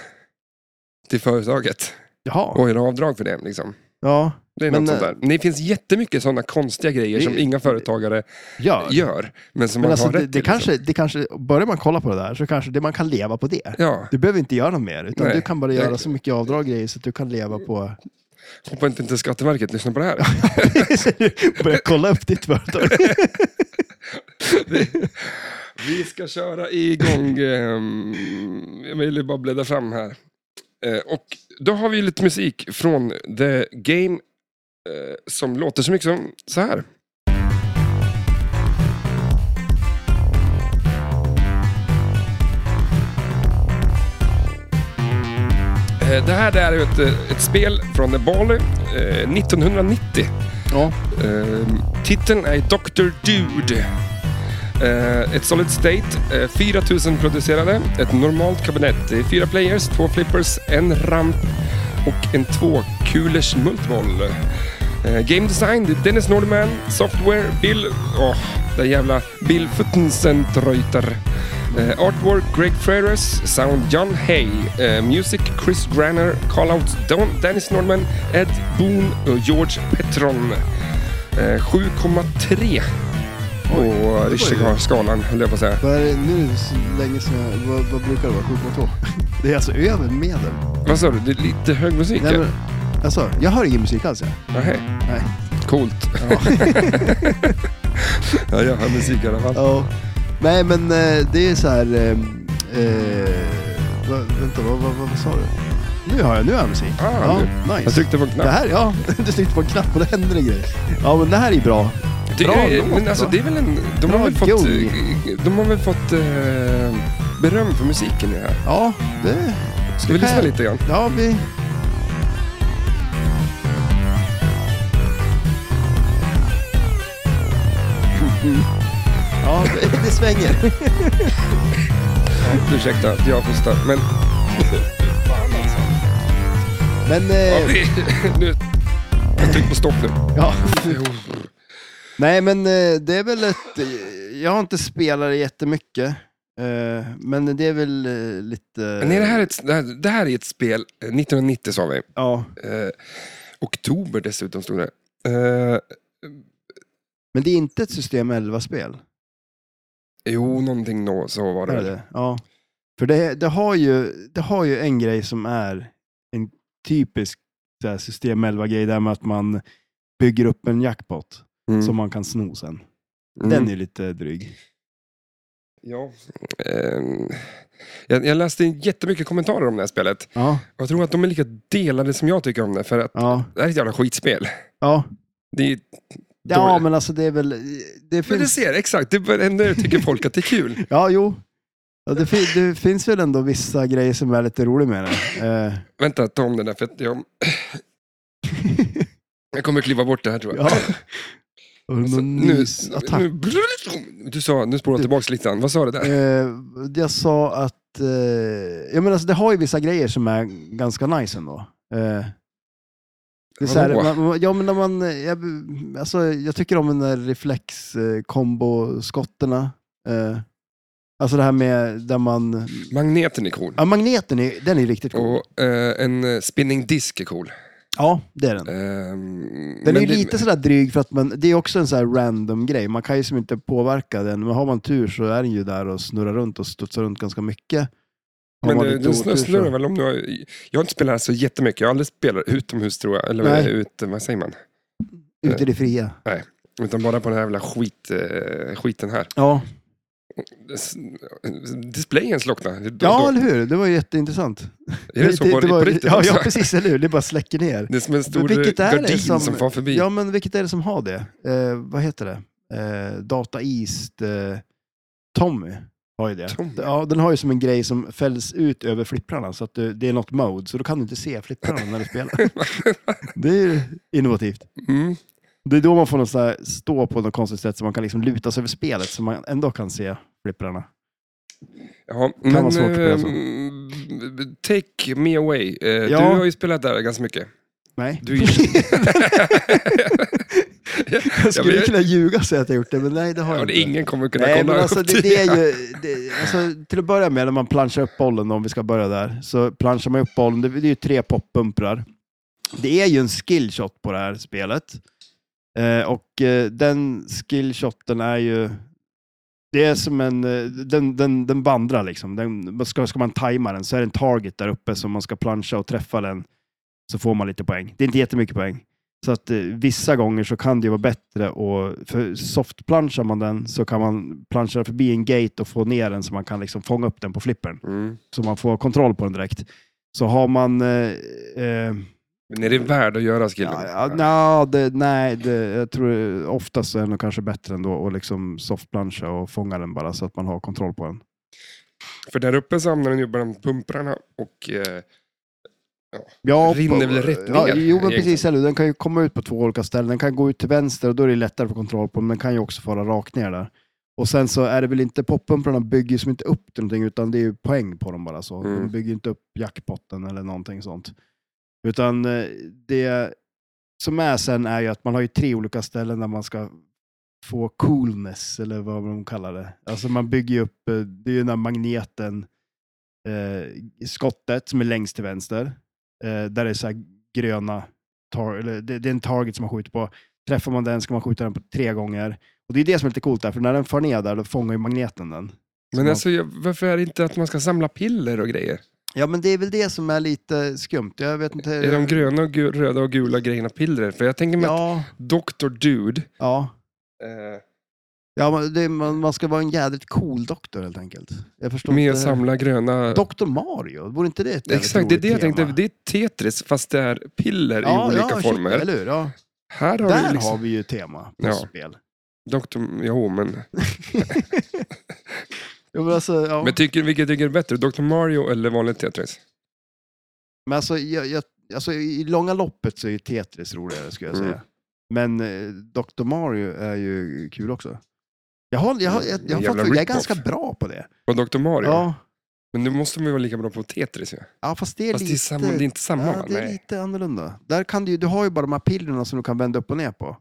Till företaget. Jaha. Och göra avdrag för det. Liksom. Ja. Det är Men, eh, något sånt där. Det finns jättemycket sådana konstiga grejer Det- som inga företagare ja. gör. Men som Men man alltså, har rätt det, det, till. liksom. kanske, det kanske, börjar man kolla på det där så kanske det, man kan leva på det. Ja, Du behöver inte göra något mer, utan Nej. du kan bara göra Nej. så mycket avdrag och grejer så att du kan leva <laughs> på... hoppas inte, inte Skatteverket lyssnar på det här. Börja kolla upp ditt företag. <laughs> Vi ska köra igång. ehm, jag ville bara bläddra fram här. Eh, och då har vi lite musik från The Game eh, som låter så mycket som så här. Eh, Det här är ju ett, eh, ett spel från The Bali eh, 1990. Ja. Ehm, titeln är Dr. Dude. Eh, ett Solid State, eh, 4000 producerade, ett normalt kabinett. Det är fyra players, två flippers, en ramp och en tvåkulers multiboll. Eh, game design, det är Dennis Nordman, software, Bill... Åh, den jävla Bill Futtensen Treuter. Eh, artwork, Greg Freres, sound, John Hay. Eh, music, Chris Granner, callouts, Don, Dennis Nordman, Ed Boon och George Petron. Eh, 7,3 på Richigar-skalan, höll jag på att säga. Vad är det nu så länge som jag, vad, vad brukar det vara? 7,2? Det är alltså över medel. Vad sa du? Det är lite hög musik? Nej, ja. men, alltså, jag hör ingen musik alls. jag. Nähä, Nej. Coolt. Ja. Ja, jag hör musik i alla fall. <laughs> Ja. Nej, men eh, det är så här... eh, Eh, va, vänta, vad, vad, vad, vad sa du? Nu hör jag, nu har jag musik. Ah, ja, nu. nice. Jag tryckte på en Det knapp. här, ja, <laughs> du tryckte på en knapp och det hände det grejer. Ja, men det här är bra. Det, Bra är- låt, men alltså, va? det är väl en... De har Bra väl fått, gung. eh, de har väl fått eh, beröm för musiken i det här. Ja, det... Ska vi det lyssna kan jag- lite grann? Ja, vi... Ja, det, det svänger. Ursäkta att jag hostar, men... Eh. Fan alltså. Men... Ja, Eh, det- <laughs> nu, jag tryckte på stopp nu. ja. Nej, men eh, det är väl ett... Jag har inte spelat det jättemycket. eh, Men det är väl eh, lite... Nej, det, här är ett, det, här, det här är ett spel, eh, 1990 sa vi. Ja, Eh, oktober dessutom stod det. Eh, men det är inte ett system 11-spel. jo, någonting då, så var det. Är väl. det? Ja. För det, det, har ju, det har ju en grej som är en typisk så här, system 11-grej, där med att man bygger upp en jackpot Mm. som man kan sno sen. Mm. Den är lite dryg. Ja. Ehm, jag, jag läste jättemycket kommentarer om det här spelet. Ja, Och jag tror att de är lika delade som jag tycker om det. För att ja, det här är ett jävla skitspel. ja. Det är ja dåligt. men alltså det är väl... Det men du finns, ser, exakt. Det är bara- ändå tycker folk att det är kul. ja, jo. Ja, det, fin, det finns väl ändå vissa grejer som är lite roliga med det. Eh, <laughs> <laughs> Vänta, ta om den <laughs> där. För att jag, jag kommer kliva bort det här tror jag. ja. Alltså, någon nu, nysattack. nu, du sa, nu spårar jag tillbaka lite grann. Vad sa du där? Eh, jag sa att, eh, jag menar, alltså, det har ju vissa grejer som är ganska nice ändå. Eh, det är så här, Vadå? man, man- ja, men när man, eh, jag, alltså, jag tycker om den där reflexkomboskotterna. Eh, alltså det här med där man... Magneten är cool. Ja, magneten är, den är riktigt cool. Och eh, en eh, spinning disk är cool. Ja, det är den. Ehm, Den men är ju det- lite sådär dryg för att man, det är också en sån här random grej. Man kan ju som inte påverka den, men har man tur så är den ju där och snurrar runt och studsar runt ganska mycket. Har Men man eh, lite den otur så- snurrar väl om du har... Jag har inte spelat så jättemycket. Jag har aldrig spelat utomhus tror jag. Eller Nej. ut, vad säger man? Ut i det fria. Utan bara på den här jävla skit, eh, skiten här. Ja, S- Displayen slocknar. Då- ja då. eller hur? Det var ju jätteintressant. Är det så på, var- på riktigt ja, också? ja, precis. Eller hur? Det bara släcker ner. Det är som en stor Vilket är det gardin som... som- far förbi. Ja, men vilket är det som har det? Eh, vad heter det? Eh, Data East eh, Tommy har ju det. Tommy? Ja, den har ju som en grej som fälls ut över flipprarna, så att du, det är något mode, så då kan du inte se flipprarna när <laughs> du spelar. det är ju innovativt. Mm. Det är då man får någon sån här, stå på något konstigt sätt så man kan liksom luta sig över spelet så man ändå kan se flipprarna. Ja, men... vara svårt att spela så. ehm, take me away. Eh, Ja. Du har ju spelat där ganska mycket. Nej. Du är <laughs> jag skulle Ja, men- kunna ljuga och säga att jag gjort det, men nej det har Ja, jag det inte. är ingen kommer kunna Nej, kolla men alltså, upp det, det är ju, det, alltså, till att börja med, när man planchar upp bollen, om vi ska börja där, så planchar man upp bollen, det, det är ju tre poppumprar. Det är ju en skillshot på det här spelet. Eh, och eh, den skillshoten är ju... Det är som en... Eh, den, den, den vandrar liksom. Den, ska, ska man tajma den så är det en target där uppe som man ska plancha och träffa den så får man lite poäng. Det är inte jättemycket poäng. Så att eh, vissa gånger så kan det ju vara bättre och för softplanchar man den så kan man plancha förbi en gate och få ner den så man kan liksom fånga upp den på flippern. Mm. Så man får kontroll på den direkt. Så har man... Eh, eh, Men är det värd att göra skillen? ja, ja, nja, det, nej, det, jag tror oftast är det nog kanske bättre ändå att liksom softplancha och fånga den bara så att man har kontroll på den. För där uppe så hamnar den ju bland pumprarna och... Eh, Ja, Rinner på- väl rätt ja, ner, Jo, men precis. egentligen. Eller, hur? den kan ju komma ut på två olika ställen. Den kan gå ut till vänster och då är det lättare att få kontroll på den. Men den kan ju också fara rakt ner där. Och sen så är det väl inte, poppumprarna bygger ju som inte upp till någonting utan det är ju poäng på dem bara. så. Mm. De bygger ju inte upp jackpotten eller någonting sånt. Utan eh, det som är sen är ju att man har ju tre olika ställen där man ska få coolness eller vad de kallar det. Alltså man bygger ju upp, eh, det är ju den här magneten, eh, skottet som är längst till vänster. Eh, där det är så här gröna, tar, eller det, det är en target som man skjuter på. Träffar man den ska man skjuta den på tre gånger. Och det är det som är lite coolt där, för när den far ner där då fångar ju magneten den. men man- alltså, jag- varför är det inte att man ska samla piller och grejer? Ja men det är väl det som är lite skumt. Jag vet inte. Är de gröna, och gu- röda och gula grejerna piller? För jag tänker mig att Ja, Dr. Dude... ja. Eh, ja man, det, man, man ska vara en jävligt cool doktor helt enkelt. Jag förstår med att inte. samla gröna... Doktor Mario, vore inte det ett jävligt Exakt, det är roligt det jag tänkte. tema? Det är Tetris fast det är piller i olika shit, former. eller hur? Ja. Här har Där du liksom... har vi ju tema på Ja. spel. <laughs> Dr. Jo, men... Ja, men alltså, ja. men tycker, vilket tycker du är bättre? Dr. Mario eller vanligt Tetris? Men alltså, jag, jag, alltså, i långa loppet så är ju Tetris roligare skulle jag Mm. säga. Men eh, Dr. Mario är ju kul också. Jag, har, jag, har- jag, jag, har Mm, Jävla fått, jag är rip-off. ganska bra på det. Och Dr. Mario? Ja. Men nu måste man ju vara lika bra på Tetris ju. ja, fast det är Fast det är, lite... samma, det är inte samma ja, va? det är Nej. lite annorlunda. Där kan du, ju- du har ju bara de här pillerna som du kan vända upp och ner på.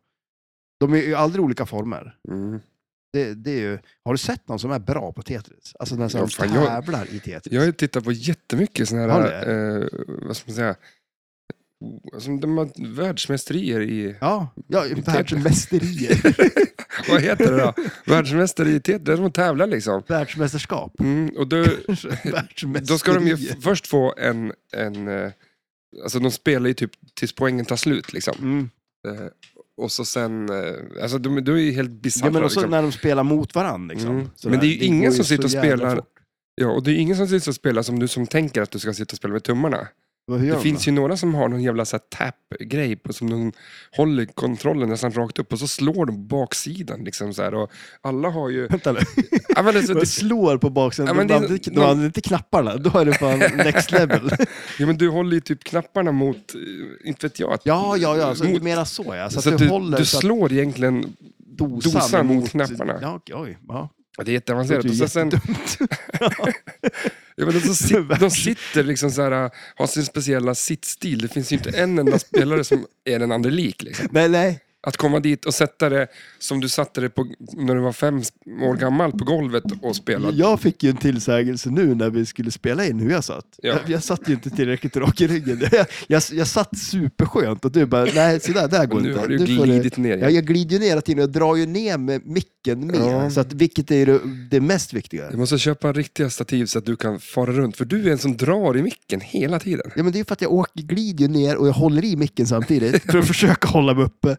De är ju aldrig olika former. Mm. Det, det är ju, har du sett någon som är bra på Tetris? Alltså den som Ja, fan, jag- tävlar i Tetris? Jag har ju tittat på jättemycket sådana Har du här, eh, vad ska man säga, alltså, de har världsmästerier i, <laughs> Ja, ja Tetris. <laughs> världsmästerier. vad heter <laughs> det då? Världsmästare i TT, där de tävlar liksom. Världsmästerskap. Mm, och då, <laughs> Världsmästerier. då ska de ju f- först få en, en eh, alltså de spelar ju typ tills poängen tar slut liksom. Mm. Eh, och så sen, eh, alltså de, de är ju helt Ja, bisarra. men också liksom. när de spelar mot varandra. Liksom. Mm. Sådär. Men det är ju ingen går som så sitter och jävla spelar- fort. Ja, och det är ju ingen som sitter och spelar som du som tänker att du ska sitta och spela med tummarna. Vad, hur gör Det finns ju några som har någon jävla så här tap-grej på som de håller kontrollen nästan rakt upp och så slår de baksidan liksom så här och alla har <laughs> ju... Vänta nu. Ja, men alltså, <laughs> Man det, slår på baksidan. Ja, Ja, men de det är- använder de använder inte knapparna. Då är det <laughs> fan next level. ja, men du håller ju typ knapparna mot, eh, inte vet jag. att- Ja, ja, ja. Så du mot, menar så ja. Så, så att att du, du, håller du så att, slår egentligen dosan, Dosan mot knapparna. Ja, okej, oj, ja. Ja, Det är Det jätteavancerat. låter Och ju sen, sen, jättedumt. <laughs> ja, men de, som sit, de Verkligen. sitter liksom så här, äh, har sin speciella sittstil. Det finns ju inte en enda spelare som är den andra lik. Liksom. nej, nej. Att komma dit och sätta det som du satte det på när du var fem år gammal på golvet och spelade. Jag fick ju en tillsägelse nu när vi skulle spela in hur jag satt. Ja. Jag, jag satt ju inte tillräckligt rak i ryggen. <laughs> Jag, jag, jag satt superskönt och du bara, nej så där, där går Och nu inte. har du Nu får glidit ner. Ja, jag glider ju ner hela tiden och drar ju ner med micken mer. Ja. Så att, vilket är det, det mest viktiga? Du måste köpa riktiga stativ så att du kan fara runt. För du är en som drar i micken hela tiden. Ja, men det är för att jag åker, glider ju ner och jag håller i <laughs> micken samtidigt för att försöka hålla mig uppe.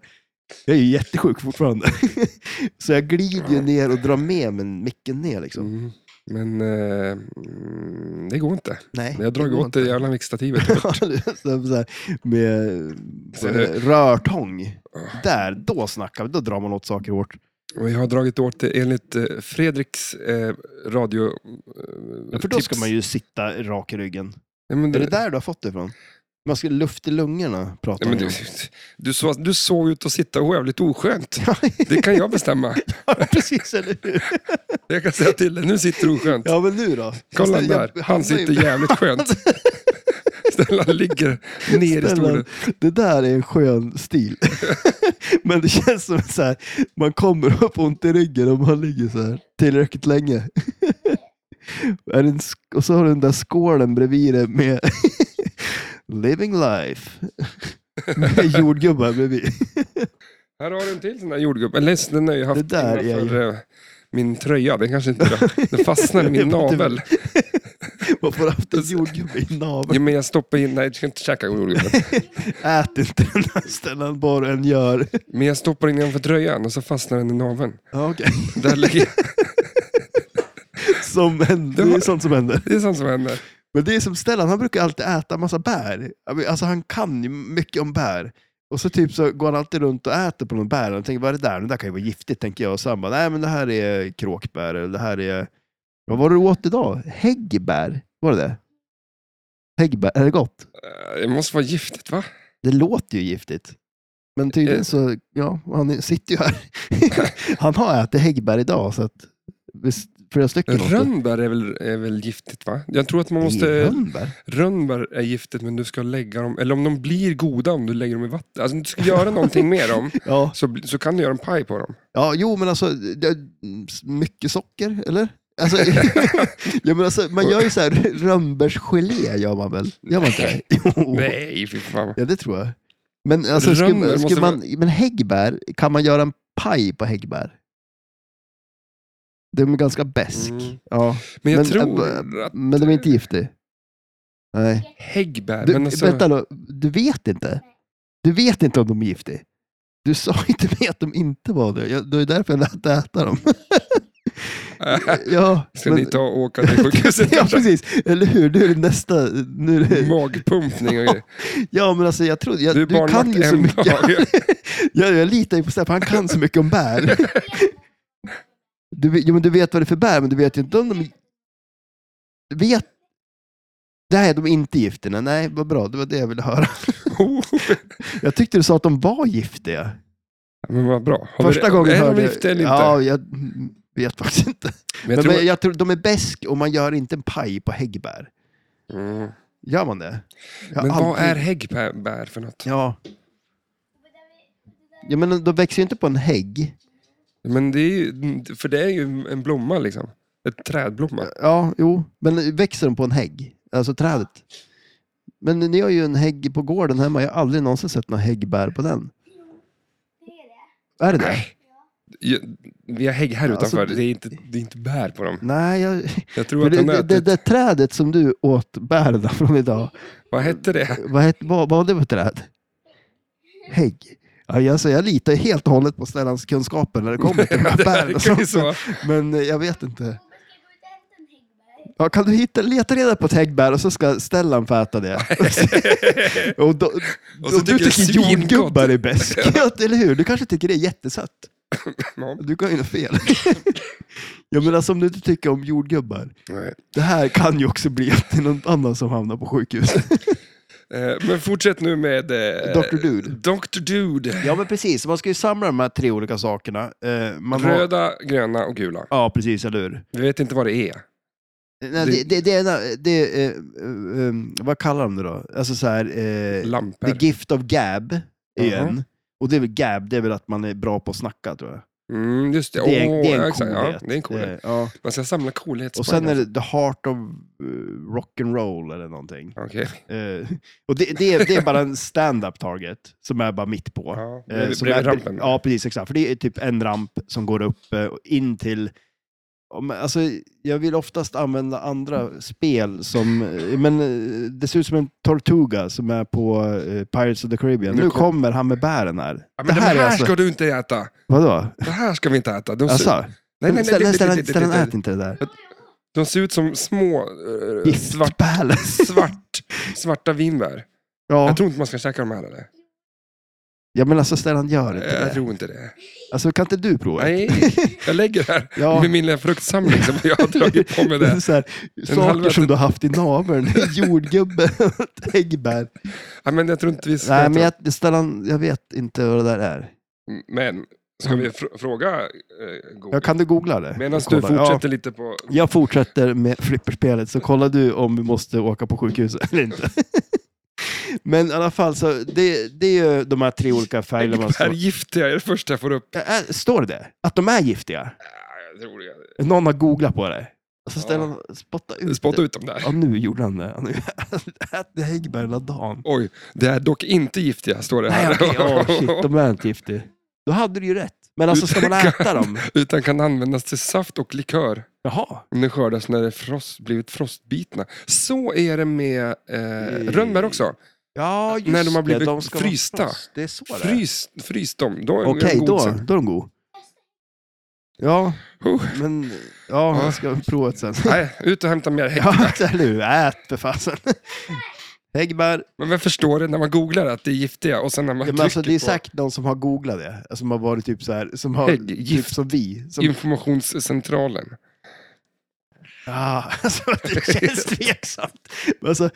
Jag är ju jättesjuk fortfarande. <laughs> så jag glider ju ner och drar med mig micken ner liksom. Mm. Men eh, mm, det går inte. Nej, Jag drar det går åt det inte. jävla <laughs> mickstativet. så så här, med Så vad är det- Ah. det, rörtång. Där, då snackar vi. Då drar man åt saker hårt. Och jag har dragit åt det enligt eh, Fredriks eh, radio... Eh, Ja, för då ska man ju sitta rak i ryggen. Ja, men Är du, det där du har fått det ifrån? Man ska luft i lungorna prata ja, men om. du, du, så, du såg ut att sitta jävligt oskönt. Det kan jag bestämma. <laughs> Ja, precis, eller hur? Jag kan säga till dig, nu sitter du oskönt. Ja, men nu då? Kolla Jag- där, han hamnar ju- sitter jävligt <laughs> skönt. Stellan ligger ner i Stellan, stolen. det där är en skön stil. <laughs> Men det känns som så här, man kommer upp ont i ryggen om man ligger så här tillräckligt länge. <laughs> Är det en sk- och så har du den där skålen bredvid dig med <laughs> Living <laughs> Life. Med jordgubbar bredvid. Här har du en till sån där jordgubbe. Eller den har jag haft Det där är innanför eh, min tröja. Den kanske inte Den <laughs> fastnar i min navel. Varför har du <laughs> haft en jordgubbe i naveln? Jo, men jag stoppar in... Nej, jag ska inte käka jordgubben. Ät inte den här ställan bara en gör. Men jag stoppar in den för tröjan och så fastnar den i naveln. Ja, okej. Där lägger jag. <laughs> Som händer. Det är sånt som händer. <laughs> Det är sånt som händer. Men det är som Stellan, han brukar alltid äta massa bär. Alltså han kan ju mycket om bär. Och så typ så går han alltid runt och äter på någon bär och tänker vad är det där? Det där kan ju vara giftigt tänker jag. Och så han bara, nej men det här är kråkbär eller det här är... Vad var det du åt idag? Häggbär? Var det det? Häggbär, är det gott? Eh, Det måste vara giftigt, va? Det låter ju giftigt. Men tydligen så, ja, han är- sitter ju här. <laughs> han har ätit häggbär idag så att visst, flera stycken. åt det. Rönnbär är väl, är väl giftigt, va? Jag tror att man Det är måste... rönnbär. Rönnbär är giftigt, men du ska lägga dem... Eller om de blir goda, om du lägger dem i vatten. Alltså, om du ska göra någonting med <laughs> dem, Ja. så, bli- så kan du göra en paj på dem. Ja, jo men alltså, det, mycket socker, eller? Alltså, <laughs> ja, men alltså, man gör ju så här, rönnbärsgelé gör man väl? Gör man inte det? Jo, <laughs> Nej, fy fan. ja det tror jag. Men, alltså, Rönnbär skulle, måste skulle man, men häggbär, kan man göra en paj på häggbär? De är ganska besk. Mm. Ja, Men jag Men, eh, tror att men de är inte giftig. Nej. häggbär... Du, men alltså, Vänta då, du vet inte? Du vet inte om de är giftiga? Du sa <laughs> inte med att de inte var det. Jag, det är därför jag lät dig äta dem. Ja, <laughs> <laughs> Ska men- ni ta och åka till sjukhuset? <laughs> ja, kanske? precis. Eller hur? Nu är det nästa. Nu är det... Magpumpning och grejer. Ja, men alltså jag trodde... Jag, Du är du, kan barnvakt ju så en mycket. <laughs> dag. <laughs> jag, jag litar ju på Stefan, han kan så mycket om bär. <laughs> Du, vet- jo, men du vet vad det är för bär, men du vet ju inte om de... Du Vet... Nej, de är inte gifterna. Nej, vad bra. Det var det jag ville höra. <laughs> Oh, Jag tyckte du sa att de var giftiga. men vad bra. Har vi Första det- gången är hörde de gifta eller inte? Ja, jag mm, vet faktiskt inte. men jag men tror... men jag tror de är bäsk och man gör inte en paj på häggbär. mm. Gör man det? Jag har men vad aldrig- är häggbär för något? Ja. ja men de växer ju inte på en hägg. Men det är ju, för det är ju en blomma liksom. Ett trädblomma. Ja, jo. Men växer de på en hägg? Alltså trädet? Men ni har ju en hägg på gården hemma. Jag har aldrig någonsin sett några häggbär på den. Är det det? Nej. Ju- Vi har hägg här Alltså, utanför. det- Det är inte, det är inte bär på dem. Nej, jag... Jag tror det, att de det, det, ätit... det trädet som du åt bären från idag, Vad hette det? vad, het, vad, vad var det för träd? Hägg. Ja, jag- alltså, jag litar helt och hållet på Stellans kunskaper när det kommer till de <laughs> <laughs> här Det bären. och verkar ju sånt. så. Men eh, jag vet inte. Ja, kan du hitta, leta reda på ett häggbär och så ska Stellan få <laughs> äta det? och då, Och så tycker och du det är tycker svingott. jordgubbar <laughs> är bäst. Ja, eller hur? Du kanske tycker det är jättesött. Ja. Du kan ju ha fel. <laughs> Jag menar, som du inte tycker om jordgubbar. Nej. <laughs> Det här kan ju också bli att det är någon annan som hamnar på sjukhus. Eh, Men fortsätt nu med... eh, Dr. Dude. Dr. Dude. <laughs> Ja, men precis. Man ska ju samla de här tre olika sakerna. Eh, man har- Röda, gröna och gula. Ja, precis. Eller hur? Vi vet inte vad det är. Nej, det, det, det, ena- det, eh, eh, eh, vad kallar de det då? Alltså så här, eh, Lampor. The Gift of Gab igen. Mhm. Och det är väl gab, det är väl att man är bra på att snacka tror jag. Mm, just det. Det är, Åh, det är en exakt. coolhet. Ja, det är en coolhet. Eh, ja. Man ska samla coolhetspoäng. Och sen är det The Heart of eh, Rock'n'Roll eller någonting. Okej. Eh, och det, det, är, det är bara en stand-up target som är bara mitt på. Ja, Eh, bredvid som bredvid är- rampen. Ja, precis. Exakt. För det är typ en ramp som går upp eh, och in till... Ja, men Alltså, jag vill oftast använda andra spel som... eh, Men eh, det ser ut som en Tortuga som är på eh, Pirates of the Caribbean. Nu Nu kom- kommer han med bären här. Ja, men det här, ska du inte äta. Vadå? Det här ska vi inte äta. De ser, Alltså, nej, nej, nej, Stellan- nej, nej, Stellan nej, Stellan nej, äter inte det där. De ser ut som små eh, svart, Giftpärlor. <laughs> svart, svarta vinbär. Ja. Jag tror inte man ska käka de här. Eller? ja, men alltså Stellan gör inte Jag det. tror inte det. Alltså, kan inte du prova? Nej, jag lägger här Ja. med min lilla fruktsamling som jag har dragit på <laughs> mig. Där. Så här, saker halvätet- som du har haft i naveln. <laughs> Jordgubbe <laughs> och ett äggbär. Ja, men jag tror inte vi ska... Nej, ta- Mm, men jag, Stellan, jag vet inte vad det där är. men ska vi fr- fråga eh, Google? Jag kan du googla det? Medan du Jag kollar. fortsätter lite på... Ja, jag fortsätter med flipperspelet, så kollar du om vi måste åka på sjukhuset <laughs> eller inte. men i alla fall, så det, det är ju de här tre olika färgerna. Man Äggbär står. giftiga är det första jag får upp. Ja, äh, står det? Att de är giftiga? Ja, jag tror det. Någon har googlat på det. Alltså Ja. Stellan, spotta ut Spotta det. ut dem där. Ja, nu gjorde han det. Han <laughs> äter häggbär hela dagen. Oj, det är dock inte giftiga, står det Nej, här. okej. åh, shit, de är inte giftiga. Då hade du ju rätt. Men alltså, ska man äta dem? <laughs> Utan kan användas till saft och likör. Jaha. Om den skördas när det frost, blivit frostbitna. Så är det med eh, Mm. rönnbär också. Ja, just När de har blivit det. De ska vara frysta. frost. Det är så det är. Frys, frys dem, då är de Okej, god då, sen. då är de god. Ja, Oh, men... Ja, jag ska prova <laughs> det sen. nej, ut och hämta mer häck. Ja, <laughs> eller hur? Ät för fasen. Häggbär. Men vem förstår det när man googlar att det är giftiga och sen när man Ja, men trycker alltså, det är på säkert någon som har googlat det. Som har varit typ så här, som har... Typ hägggift, som vi. Som, informationscentralen. ja, <laughs> alltså, det känns tveksamt. Men Alltså,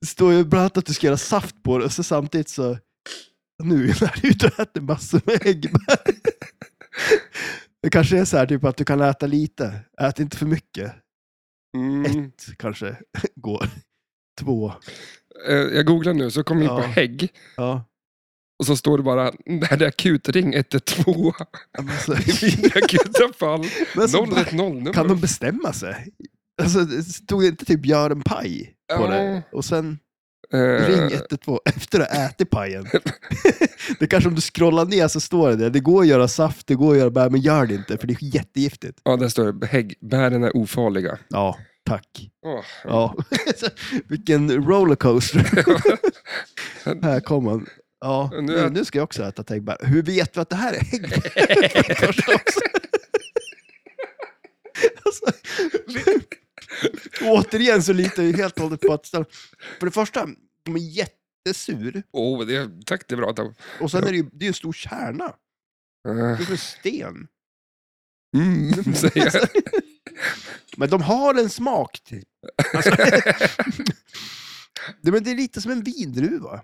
det står ju bland annat att du ska göra saft på det och så samtidigt så... Nu är jag ute och äter massor med häggbär. <laughs> Det kanske är så här typ att du kan äta lite. Ät inte för mycket. Mm. Ett kanske går. Två. Eh, Jag googlar nu, så kommer jag in Ja. på hägg. Ja. Och så står det bara, när det är akut, ring 112. Men alltså, <laughs> I akuta fall, <laughs> men alltså, bara, 010-nummer. kan de bestämma sig? Alltså, det stod det inte typ gör en paj på det? Och sen Eh, ring 112 efter att ha ätit pajen. <laughs> det kanske om du scrollar ner så står det där. Det går att göra saft, det går att göra bär, men gör det inte för det är jättegiftigt. Ja, där står det, hägg, bären är ofarliga. Ja, tack. Åh, Ja. <laughs> Vilken <laughs> rollercoaster. här kommer han. Ja, Nu nu, är- nu ska jag också äta äggbär. Hur vet vi att det här är äggbär? Kanske också. <laughs> alltså, återigen så litar jag ju helt och hållet på att... ställa- För det första, de är jättesur. Åh, det, tack, det är bra. Tom. Och sen är det ju det är en stor kärna. Eh, Det är som en sten. <laughs> Mm, säger <laughs> jag. Men de har en smak. Typ. <laughs> Alltså, det, men det är lite som en vindruva.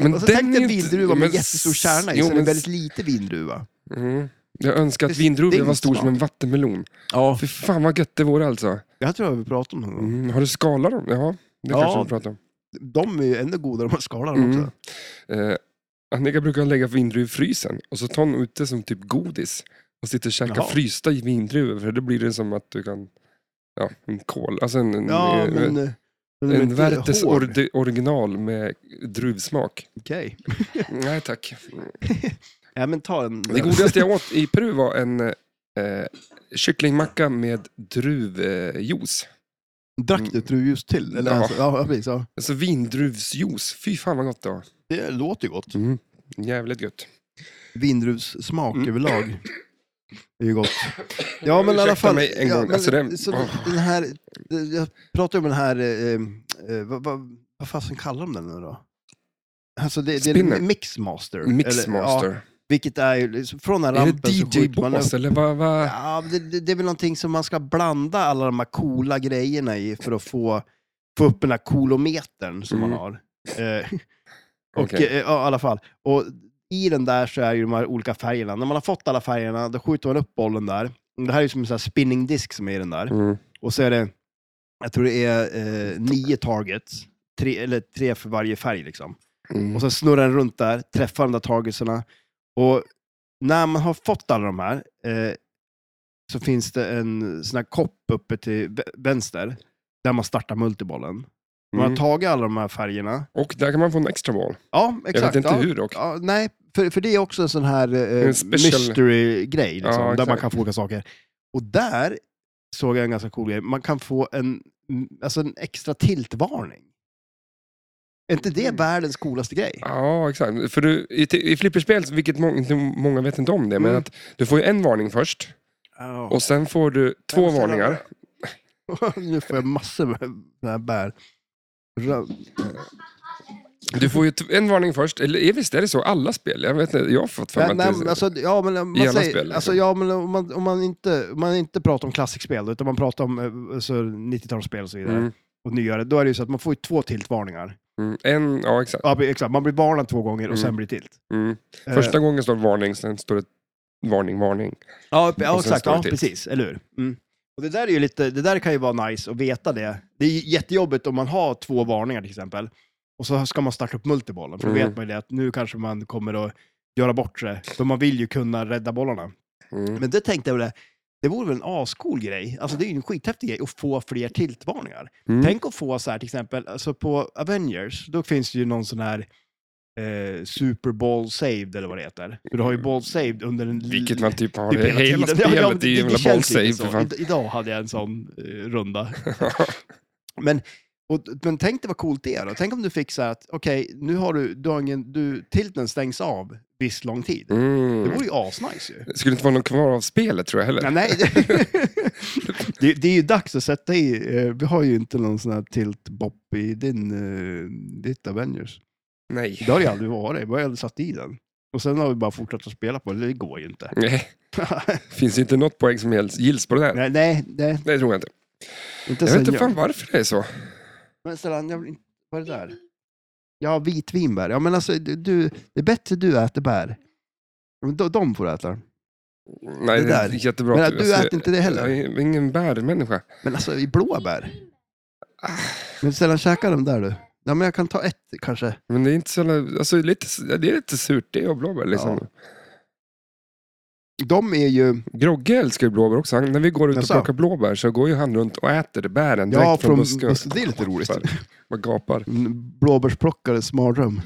Men Alltså, den tänk dig är en ju inte- vindruva med men jättestor s- kärna i, jo, sen en men väldigt lite vindruva. Mm. Jag önskar att Det vindruvan var stor stinks som en vattenmelon. Ja. Fy fan vad gött det vore alltså. Jag tror jag vi pratat om det någon gång. Mm. Har du skalat dem? Ja, det Ja. kanske vi pratar om. De är ju ännu godare om man skalar dem Mm. också. Eh, Annika brukar lägga vindruvor i frysen och så tar hon ut det som typ godis och sitter och käkar Jaha. frysta i vindruvor för då blir det som att du kan, ja, en kol, alltså en, en, Ja, eh, men... eh, men de är en inte Werthers hård. ordi- original med druvsmak. Okej. Nej tack. Ja, men ta en... Det <laughs> godaste jag åt i Peru var en eh, kycklingmacka med druvjuice. Drack du truvljus till? Eller? Ja. Alltså, ja, precis. Ja. Alltså vindruvsjuice, fy fan vad gott det var. Det låter ju gott. Mm. Jävligt gött. Vindruvssmak Mm. <coughs> överlag. Det är ju gott. Ja, men i alla Ursäkta fall. mig en ja, gång. men Alltså, det- så åh. den här, jag pratade om den här, eh, eh, vad, vad, vad fasen kallar de den nu då? Alltså det, det är Spinner. en mixmaster. eller- Mixmaster. ja, vilket är ju, liksom, från den här är rampen det så skjuter man upp DJ-bås eller vad? vad? Ja, det, det, det är väl någonting som man ska blanda alla de här coola grejerna i för att få, få upp den här coolometern som Mm. man har. Eh, och Okej. eh, ja, i alla fall. Och i den där så är ju de här olika färgerna. När man har fått alla färgerna, då skjuter man upp bollen där. Det här är ju som en sån här spinning disk som är i den där. Mm. Och eh, så är det, jag tror det är eh, nio targets. Tre, eller tre för varje färg liksom. Mm. Och sen snurrar den runt där, träffar de där targetsarna. Och när man har fått alla de här, eh, så finns det en sån här kopp uppe till vä- vänster, där man startar multibollen. Man har Mm. tagit alla de här färgerna. Och där kan man få en extra boll. Ja, Jag exakt. vet inte ja. hur dock. Ja, nej, för, för det är också en sån här eh, En special- mystery-grej, liksom, Ja, där man exakt. kan få olika saker. Och där såg jag en ganska cool grej. Man kan få en, mm, alltså en extra tiltvarning. Är inte det Mm. världens coolaste grej? Ja, exakt. För du, i, I flipperspel, vilket må, inte, många vet inte om det, men Mm. att du får ju en varning först Ja. och sen får du två Nej, men sen har varningar. <laughs> nu får jag massor med såna här bär. Rö- Du får ju t- en varning först, eller är- visst är det så alla spel? Jag vet inte, jag har fått för mig Nej, att nej, det men alltså, ja, men om I alla man säger, spel, liksom. alltså, ja, men om man, om man, inte, om man inte pratar om klassikspel, utan man pratar om eh, alltså, 90-talsspel och så vidare, Mm, och nyare, då är det ju så att man får ju två tiltvarningar. mm, en, ja exakt. Ja, men exakt. Man blir varnad två gånger och Mm. sen blir det tilt. Mm. Eh, Första gången står det varning, sen står det varning, varning. Ja, upp- ja Och sen exakt. står det Ja, tilt. precis. Eller hur? Mm. Och det, där är ju lite, det där kan ju vara nice att veta det. Det är ju jättejobbigt om man har två varningar till exempel. Och så ska man starta upp multibollen, för då Mm. vet man ju det att nu kanske man kommer att göra bort sig. För man vill ju kunna rädda bollarna. Mm. Men det tänkte jag väl, det vore väl en ascool grej. Alltså det är ju en skithäftig grej att få fler tiltvarningar. Mm. Tänk att få så här till exempel, alltså på Avengers, då finns det ju någon sån här eh, Super Bowl saved eller vad det heter. För du har ju ball saved under en... Mm. Vilket man typ har <laughs> typ i hela tiden. Ja, ja, men spelet, det är ju det- en det jävla känns bollsave lite för så. fan. Id- Idag hade jag en sån eh, runda. Men, och, men tänk dig vad coolt det är då. Tänk om du fick så här att, okej, nu har du, du, har ingen, du tilten stängs av viss lång tid. <laughs> Det Mm. vore ju asnice ju. Det skulle inte vara någon kvar av spelet tror jag heller. Ja, nej. <laughs> det, det är ju dags att sätta i. eh, Vi har ju inte någon sån här tilt-bopp i din, eh, ditt Avengers. Nej. Det har det ju aldrig varit. Vi har ju aldrig satt i den. Och sen har vi bara fortsatt att spela på det. Det går ju inte. <laughs> Nej. <laughs> Finns ju inte något poäng som gills- gills på det där. nej, nej, nej. Det tror jag inte. Inte Jag sen vet inte jag. fan varför det är så. Men Stellan, jag vill inte... Vad är det där? Ja, vitvinbär. Ja, men alltså, du, du, det är bättre du äter bär. Men De, de får äta. Nej, Det det, där. är jättebra. Men att att du alltså, äter inte det heller. Jag är ingen bärmänniska. Men alltså, i blåbär. Men Stellan, käka de där du. Ja, men jag kan ta ett kanske. Men det är inte så jävla- alltså, lite, det är lite surt det och blåbär. Liksom. De är ju... Grogge älskar ju blåbär också. Han, när vi går ut och Jaså? plockar blåbär så går ju han runt och äter bären direkt Ja, från från, busken. det är lite roligt. Så här, Man gapar. En Blåbärsplockare, mardröm.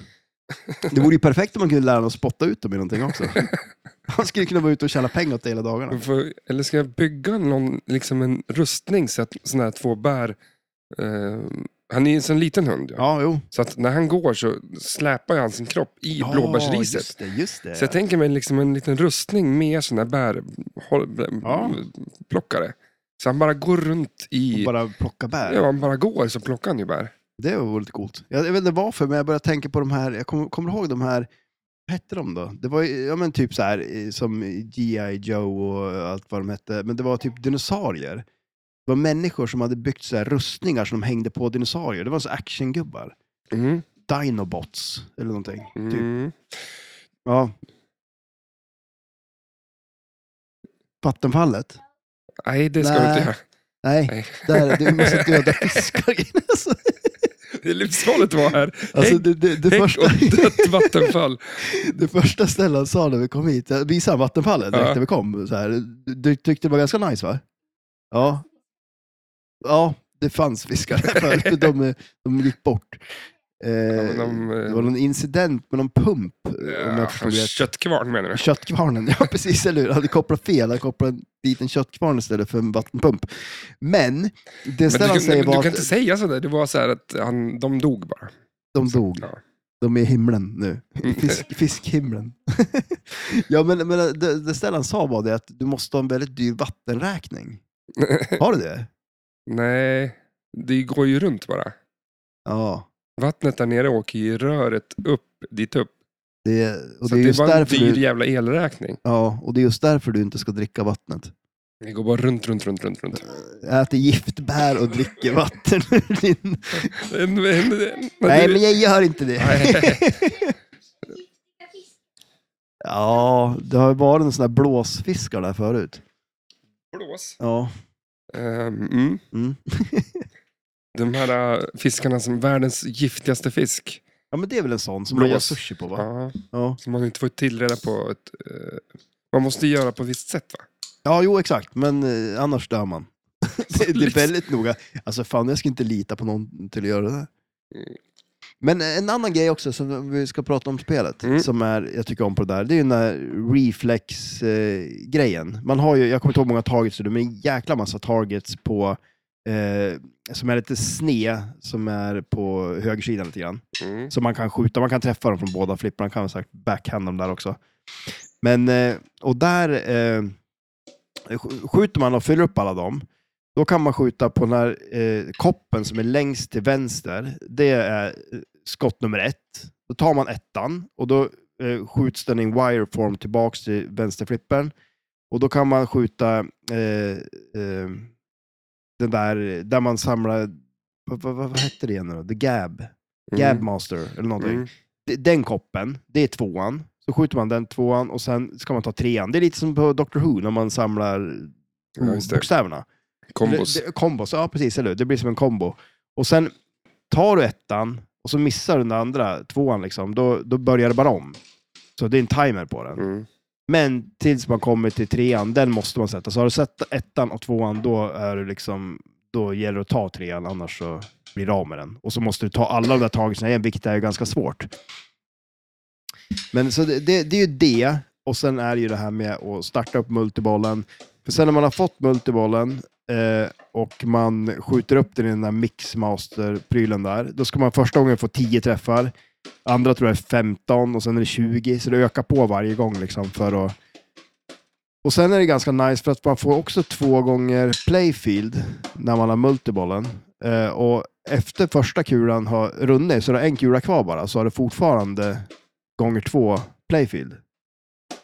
Det vore ju perfekt om man kunde lära honom att spotta ut dem i någonting också. Han skulle kunna vara ute och tjäna pengar åt det hela dagarna. För, eller ska jag bygga någon, liksom en rustning så att sådana här två bär... Eh, han är ju en sån liten hund. Ja. Ja, jo. Så att när han går så släpar ju han sin kropp i Ja, blåbärsriset. Just det, just det. Så jag tänker mig liksom en liten rustning med sån här Ja. bärplockare. Så han bara går runt Och i... bara plocka bär. Ja, han bara går så plockar han ju bär. Det var lite coolt. Jag, jag vet inte varför, men jag började tänka på de här, jag kommer, kommer ihåg de här, vad hette de då? Det var ju, ja men typ så här, eh, som G.I. Joe och allt vad de hette, men det var typ dinosaurier. Det var människor som hade byggt så här rustningar som de hängde på dinosaurier. Det var så actiongubbar. Mm. Dinobots eller någonting. Typ. Mm. Ja. Vattenfallet? Nej, det ska du Nej. inte göra. <laughs> Nej, Nej. där, du måste <laughs> döda fiskar. Alltså, Det är livsfarligt att vara här. alltså Hägg- det, det, det Hägg <laughs> första... och dött vattenfall. <laughs> Det första Stellan sa när vi kom hit, jag visade han vattenfallet direkt Ja. när vi kom. Så här. Du- Du tyckte det var ganska nice va? Ja. Ja, det fanns fiskar där <laughs> förut. De, de gick bort. Eh, men de, eh, det var någon incident med någon pump, om Ja, jag förstod rätt. köttkvarn menar du? Köttkvarnen, <laughs> ja precis, eller hur? Jag hade kopplat fel, jag hade kopplat dit en köttkvarn istället för en vattenpump. Men det Men du, Stellan kan- säger men du var kan att inte säga sådär. Det var så här att han, de dog bara. de dog. Ja. De är i himlen nu. Mm. Fisk, fiskhimlen. <laughs> ja, men, men det, det Stellan sa var det att du måste ha en väldigt <laughs> dyr vattenräkning. Har du det? <laughs> Nej, det går ju runt bara. Ja. Vattnet där nere åker ju i röret upp, dit upp. Det, och Så det är det just var en därför dyr du, jävla elräkning. ja, och det är just därför du inte ska dricka vattnet. Det går bara runt, runt, runt, runt, <laughs> runt. Äter giftbär och dricker vatten <laughs> ur din... En- en- en- Nej, men jag gör inte det. Ja, det har ju varit en sån där blåsfiskar där förut. <laughs> Blås. Ja. Ehm, mm. Mm. De här äh, fiskarna som världens giftigaste fisk. ja, men det är väl en sån som Blås. man gör sushi på va? Ja, Ja, som man inte får tillreda på. Ett, eh, man måste göra på ett visst sätt va? ja jo exakt, men eh, annars dör man. <laughs> det, det är väldigt noga. Alltså fan, jag ska inte lita på någon till att göra det där. Men eh, en annan grej också som vi ska prata om spelet, Mm. som är, jag tycker om på det där, det är ju den där reflex-grejen. Man har ju, jag kommer inte ihåg hur många targets, men en jäkla massa targets på, eh, som är lite sned, som är på högersidan lite grann. Mm. Så man kan skjuta, man kan träffa dem från båda flipparna, kan man sagt backhand dem där också. Men, eh, och där eh, sk- skjuter man och fyller upp alla dem, då kan man skjuta på den här eh, koppen som är längst till vänster. Det är eh, skott nummer ett. Då tar man ettan och då eh, skjuts den i en wireform tillbaks till vänsterflippen. Och då kan man skjuta eh, eh, den där, där man samlar, vad, vad, vad hette det igen nu då? The Gab. Gabmaster eller någonting. Mm. D- Den koppen, det är tvåan. Så skjuter man den tvåan och sen ska man ta trean. Det är lite som på Doctor Who när man samlar Ja, just det. bokstäverna. Kombos. Det- det- Kombos, ja precis. Eller hur? Det blir som en kombo. Och sen tar du ettan och så missar du den andra tvåan, liksom, då, då börjar det bara om. Så det är en timer på den. Mm. Men tills man kommer till trean, den måste man sätta. Så har du sett ettan och tvåan, då, är det liksom, då gäller det att ta trean, annars så blir du av med den. Och så måste du ta alla de där tagelserna igen, vilket är ju ganska svårt. Men så det, det, det är ju det, och sen är det ju det här med att starta upp multibollen. För sen när man har fått multibollen eh, och man skjuter upp den i den där mixmaster-prylen där, då ska man första gången få 10 träffar. Andra tror jag är 15 och sen är det 20, så det ökar på varje gång. Liksom för att... Och sen är det ganska nice för att man får också två gånger playfield när man har multibollen. Eh, och efter första kulan har runnit, så du har en kula kvar bara, så har du fortfarande gånger två playfield.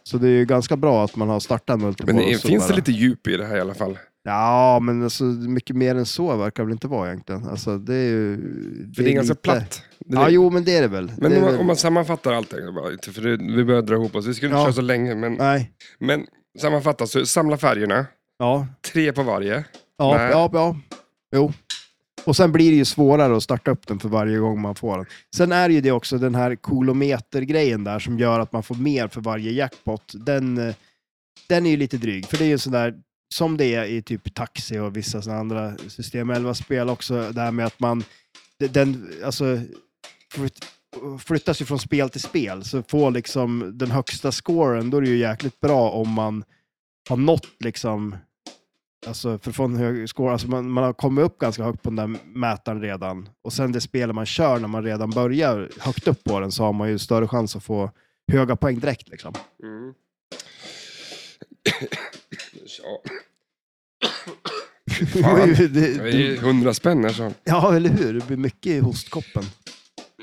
Så det är ju ganska bra att man har startat multiboll. Men och det, så finns det bara- lite djup i det här i alla fall? Ja, men alltså, mycket mer än så verkar det väl inte vara egentligen. Alltså, det är ju... För det är ganska lite- platt. Det är- Ja, jo, men det är det väl. Men det är om man, väl... om man sammanfattar allting, bara, för det, vi börjar dra ihop oss. Vi skulle inte Ja. köra så länge, men, Nej. men sammanfatta. Så samla färgerna, Ja, tre på varje. Ja, Nej. ja, ja. Jo. Och sen blir det ju svårare att starta upp den för varje gång man får den. Sen är det ju det också, den här kolometergrejen där som gör att man får mer för varje jackpot. Den, eh, den är ju lite dryg, för det är ju sån där som det är i typ taxi och vissa såna andra system 11-spel också, det här med att man de- den, alltså, flytt- flyttas ju från spel till spel, så får liksom den högsta scoren, då är det ju jäkligt bra om man har nått liksom Alltså för att få en hög score, alltså man, man har kommit upp ganska högt på den där mätaren redan. Och sen det spel man kör när man redan börjar högt upp på den så har man ju större chans att få höga poäng direkt. Liksom. Mm. ja, Fan. <laughs> det, det är ju det, hundra spänn alltså. här så. ja, eller hur? Det blir mycket i hostkoppen.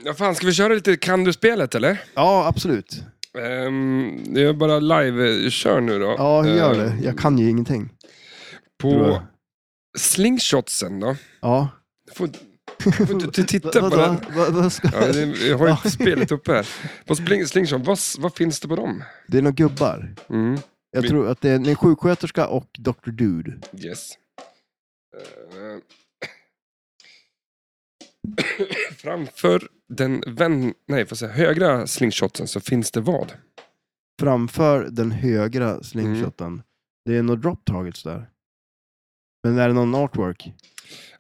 Ja, fan, ska vi köra lite Kan du-spelet eller? Ja, absolut. Ehm, det är bara live-kör nu då. Ja, hur gör Ehm, det? Jag kan ju ingenting. tror På jag. slingshotsen då. Ja. Du får, du får inte <laughs> t- titta på den. Vad- vad- vad ska- Ja, det, jag har ju spelet uppe här. På sling, slingshot, vad, vad finns det på dem? Det är några gubbar. Mm. Jag Vi- tror att det är en sjuksköterska och Dr. Dude. Yes. Eh, <coughs> Framför den vän, nej, får jag säga, högra slingshotsen så finns det vad? framför den högra slingshoten. Det är nog drop targets där. Men är det någon artwork?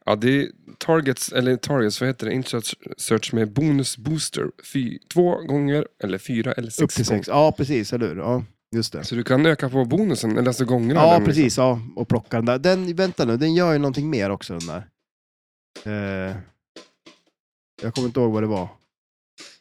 Ja, det är targets, eller targets, vad heter det? Insert search med bonus booster. Fy, två gånger, eller fyra, eller sex Upp till sex. Ja, precis. Eller hur? Ja, just det. gånger. Så du kan öka på bonusen, eller alltså gångerna. Ja, den- precis. Ja, och plocka den där. Den, vänta nu, den gör ju någonting mer också den där. Eh, jag kommer inte ihåg vad det var.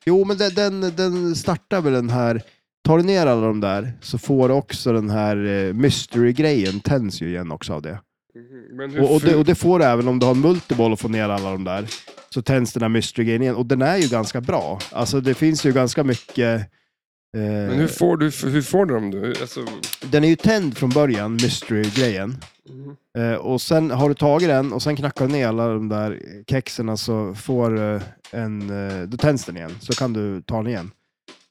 Jo, men den, den, den startar väl den här. Tar du ner alla de där så får du också den här eh, mystery-grejen tänds ju igen också av det. Mhm, Men hur Och, och, det, ful- och det får du även om du har en multiboll och får ner alla de där. Så tänds den här mystery-grejen igen. Och den är ju ganska bra. Alltså det finns ju ganska mycket Eh, Men hur får du, hur får du dem? då? Alltså, Den är ju tänd från början, mystery-grejen. Eh, och sen har du tagit den och sen knackar du ner alla de där kexerna så får eh, en, eh, då tänds den igen. Så kan du ta den igen.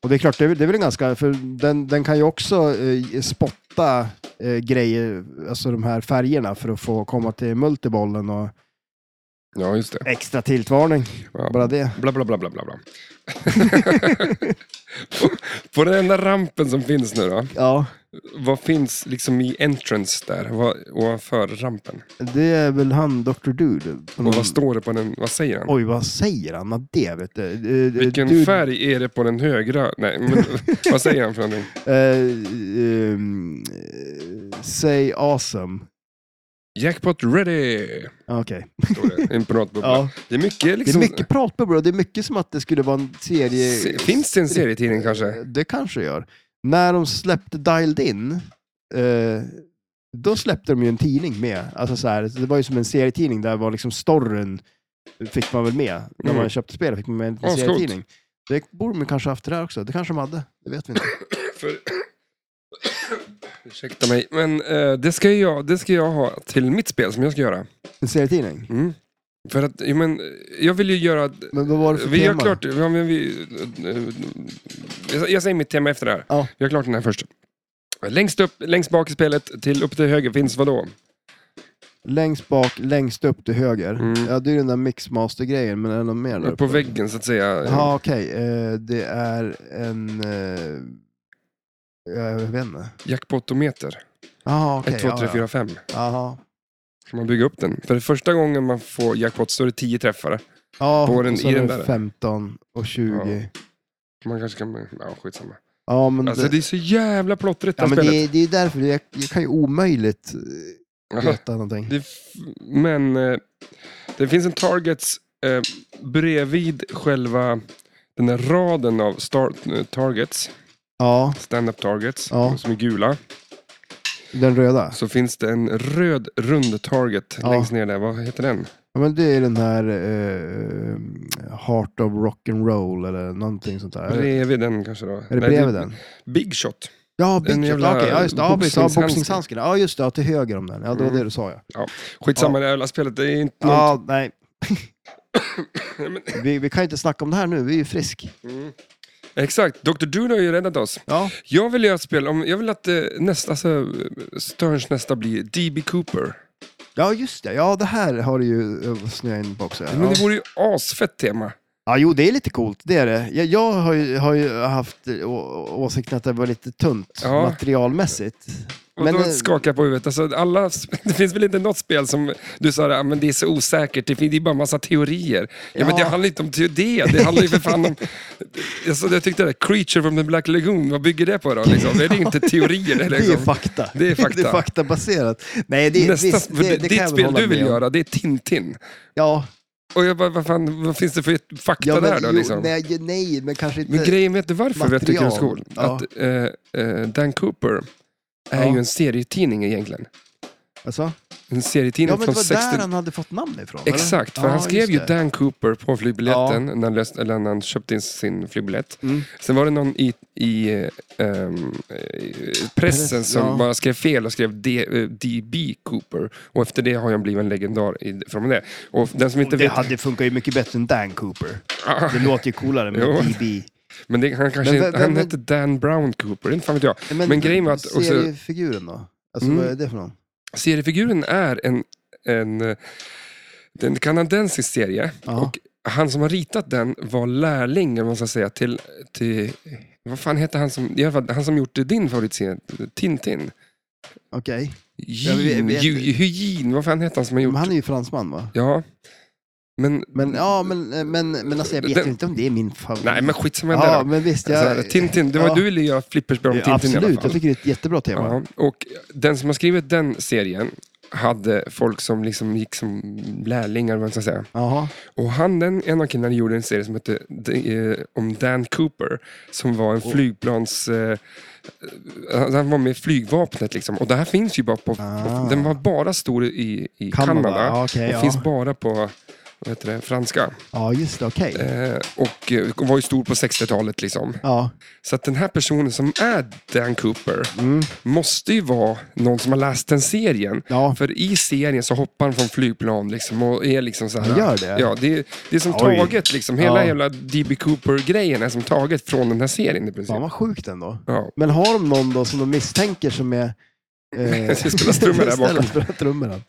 Och det är klart, det är, väl- det är väl en ganska, för den, den kan ju också eh, spotta eh, grejer, alltså de här färgerna för att få komma till multibollen och ja, just det. extra tiltvarning. Ja. Bara det. Bla, bla, bla, bla, bla. <laughs> bla. på, på den enda rampen som finns nu då, Ja, vad finns liksom i entrance där, vad, ovanför rampen? det är väl han Dr. Dude. på Och någon- vad står det på den, vad säger han? Oj, vad säger han? Ja, Det vet du. Eh, Vilken Dude- färg är det på den högra? Nej, men vad säger han för någonting? <laughs> Eh, ehm, eh, say awesome. Jackpot ready! Ja, Okej. Står det. En piratbubbla. Ja. Det är mycket Det är liksom... mycket pratbubblor och det är mycket som att det skulle vara en serie. se- Finns det en serietidning kanske? Det kanske gör. När de släppte Dialed In, eh, då släppte de ju en tidning med. Alltså så här, det var ju som en serietidning där var liksom storyn fick man väl med. När Mm. man köpte spel fick man med en Ascoolt. serietidning. Det borde man kanske haft det där också. Det kanske de hade. Det vet vi inte. För... Ursäkta mig, men eh, det, ska jag, det ska jag ha till mitt spel som jag ska göra. En serietidning. Mm. För att, ja, men, jag vill ju göra... Men vad var det för Vi gör Alltså, tema? klart... Ja, men vi, jag- jag säger mitt tema efter det här. Ja. Vi gör klart den här först. Längst upp, längst bak i spelet, till upp till höger finns vadå? Längst bak, längst upp till höger. Mm. Ja, det är ju den där mixmaster-grejen, men är det något mer där På uppe? väggen så att säga. Ja, okej. Eh, det är en... eh, jag vet inte. Jackpotometer. Jaha, okej. 1, 2, 3, ja, 4, 5. ja. Jaha. Kan man bygga upp den? För första gången man får jackpot så är det 10 träffar. Ja, På den- och så i är den det där. 15 och 20. Ja, Man kanske kan... Ja, skitsamma. men, Alltså det, det är så jävla plottrigt det Mm. ja, här men spelet. det, är- det är därför. Jag, jag kan ju omöjligt eh, Jaha. veta någonting. Alltså, Det är f- men eh, det finns en targets eh, bredvid själva den här raden av star, eh, targets, Ja, stand-up targets, Ja. som är gula. den röda. Så finns det en röd rund target Ja. längst ner där. Vad heter den? Ja, men det är den här eh, Heart of Rock and Roll eller någonting sånt där. Är det, Bredvid den kanske då? är det bredvid den? Big shot. Ja, Den Big Shot. jävla Ja, Okej, ja, just det. Ja, precis. Ja, boxningshandsken. boxningshandsken. Ja, just det. Ja, till höger om den. Ja, det var Mm. det du sa, ja. Skitsamma det jävla spelet. Det är inte något... Ja, nej. <coughs> Men- Vi, vi kan ju inte snacka om det här nu. Vi är ju frisk. Mm. Exakt, Dr. Doom har ju räddat oss. Ja. Jag vill göra ett spel om, jag vill att eh, nästa, alltså, Sterns nästa blir DB Cooper. ja, just det. Ja, det här har du ju eh, snöat in på också. Ja. Men det vore ju asfett tema. ja, jo, det är lite coolt. Det är det. Jag, jag har, ju, har ju haft eh, å- åsikten att det var lite tunt Ja. materialmässigt. Och Men, då eh, skakar jag på huvudet. Alltså, alla, <laughs> det finns väl inte något spel som du sa, ah, men det är så osäkert, det fin- det är bara massa teorier. Ja, men Ja. det handlar inte om te- det, det handlar ju för fan <laughs> om... Alltså, jag tyckte det, Creature from the Black Lagoon, vad bygger det på då? Liksom? Det är inte teorier. Det, är <laughs> Det är liksom. fakta. Det är fakta. det är faktabaserat. Nej, det, Nästa, visst, för det, det kan ditt jag väl spel hålla du vill med om. göra, det är Tintin. Ja, Och jag bara, vad, fan, vad finns det för fakta ja men, där då? jo, Liksom? nej, nej, men kanske inte... Men grejen, vet du varför jag tycker det är så Material. coolt? Ja. Att eh, eh, Dan Cooper är Ja. ju en serietidning egentligen. alltså? En serietidning Ja, men det från var 60 där han hade fått namn ifrån. eller? Exakt, för Ja, han skrev just ju det. Dan Cooper på flygbiljetten när, han läste, eller när han köpte in sin flygbiljett. Mm. Sen var det någon i, i eh, ehm, eh, pressen Press, som ja. bara skrev fel och skrev D, eh, DB Cooper. Och efter det har han blivit en legendar i, från det. Och den som inte Det vet... hade funkat ju mycket bättre än Dan Cooper. <laughs> Ah, Det låter ju coolare med Jo. DB. men det, han kanske Men inte, vem- han vem- hette Dan Brown Cooper, inte fan vet jag. Men grejen var att- och så- Seriefiguren då? Alltså Mm. vad är det för någon? Seriefiguren är en, en, eh, det är en kanadensisk serie. Ja. Och han som har ritat den var lärling, eller vad man ska säga, till, till vad fan heter han som, i alla fall, han som gjort din favoritserie, Tintin? Okej. Jag vet- Jean, vet- Ju- Hugin, vad fan heter han som har gjort? Men han är ju fransman va? Ja, men, Men, ja, men, men, men alltså jag vet Den- ju inte om det är min favorit. nej men skitsamma det ja, där. men visst. Jag, Alltså, Tintin, det var, ja. du ville göra flipperspel om Tintin i alla Absolut, fall. jag tycker det är ett jättebra tema. Ja, och den som har skrivit den serien hade folk som liksom gick som lärlingar, vad man ska säga. Jaha. Och han, den, en av killarna gjorde en serie som hette de, eh, om Dan Cooper, som var en flygplans... Eh, han han var med i flygvapnet liksom. Och det här finns ju bara på... Ah. Den var bara stor i, i Kanada. Kanada, okej, och ja. finns bara på vad heter det, franska. Ja, just det. Okej. Eh, och eh, var ju stor på 60-talet. liksom. Ja. Så att den här personen som är Dan Cooper mm. måste ju vara någon som har läst den serien. Ja. För i serien så hoppar han från flygplan liksom och är liksom så här. Han gör det? Ja, det, är- det är som Oj. taget liksom. Hela Ja. jävla D.B. Cooper-grejen är som taget från den här serien i princip. Fan vad sjukt ändå. Ja. Men har de någon då som de misstänker som är... <laughs> Eh, ska spela <laughs> trummor där bakom. Spela trummor där.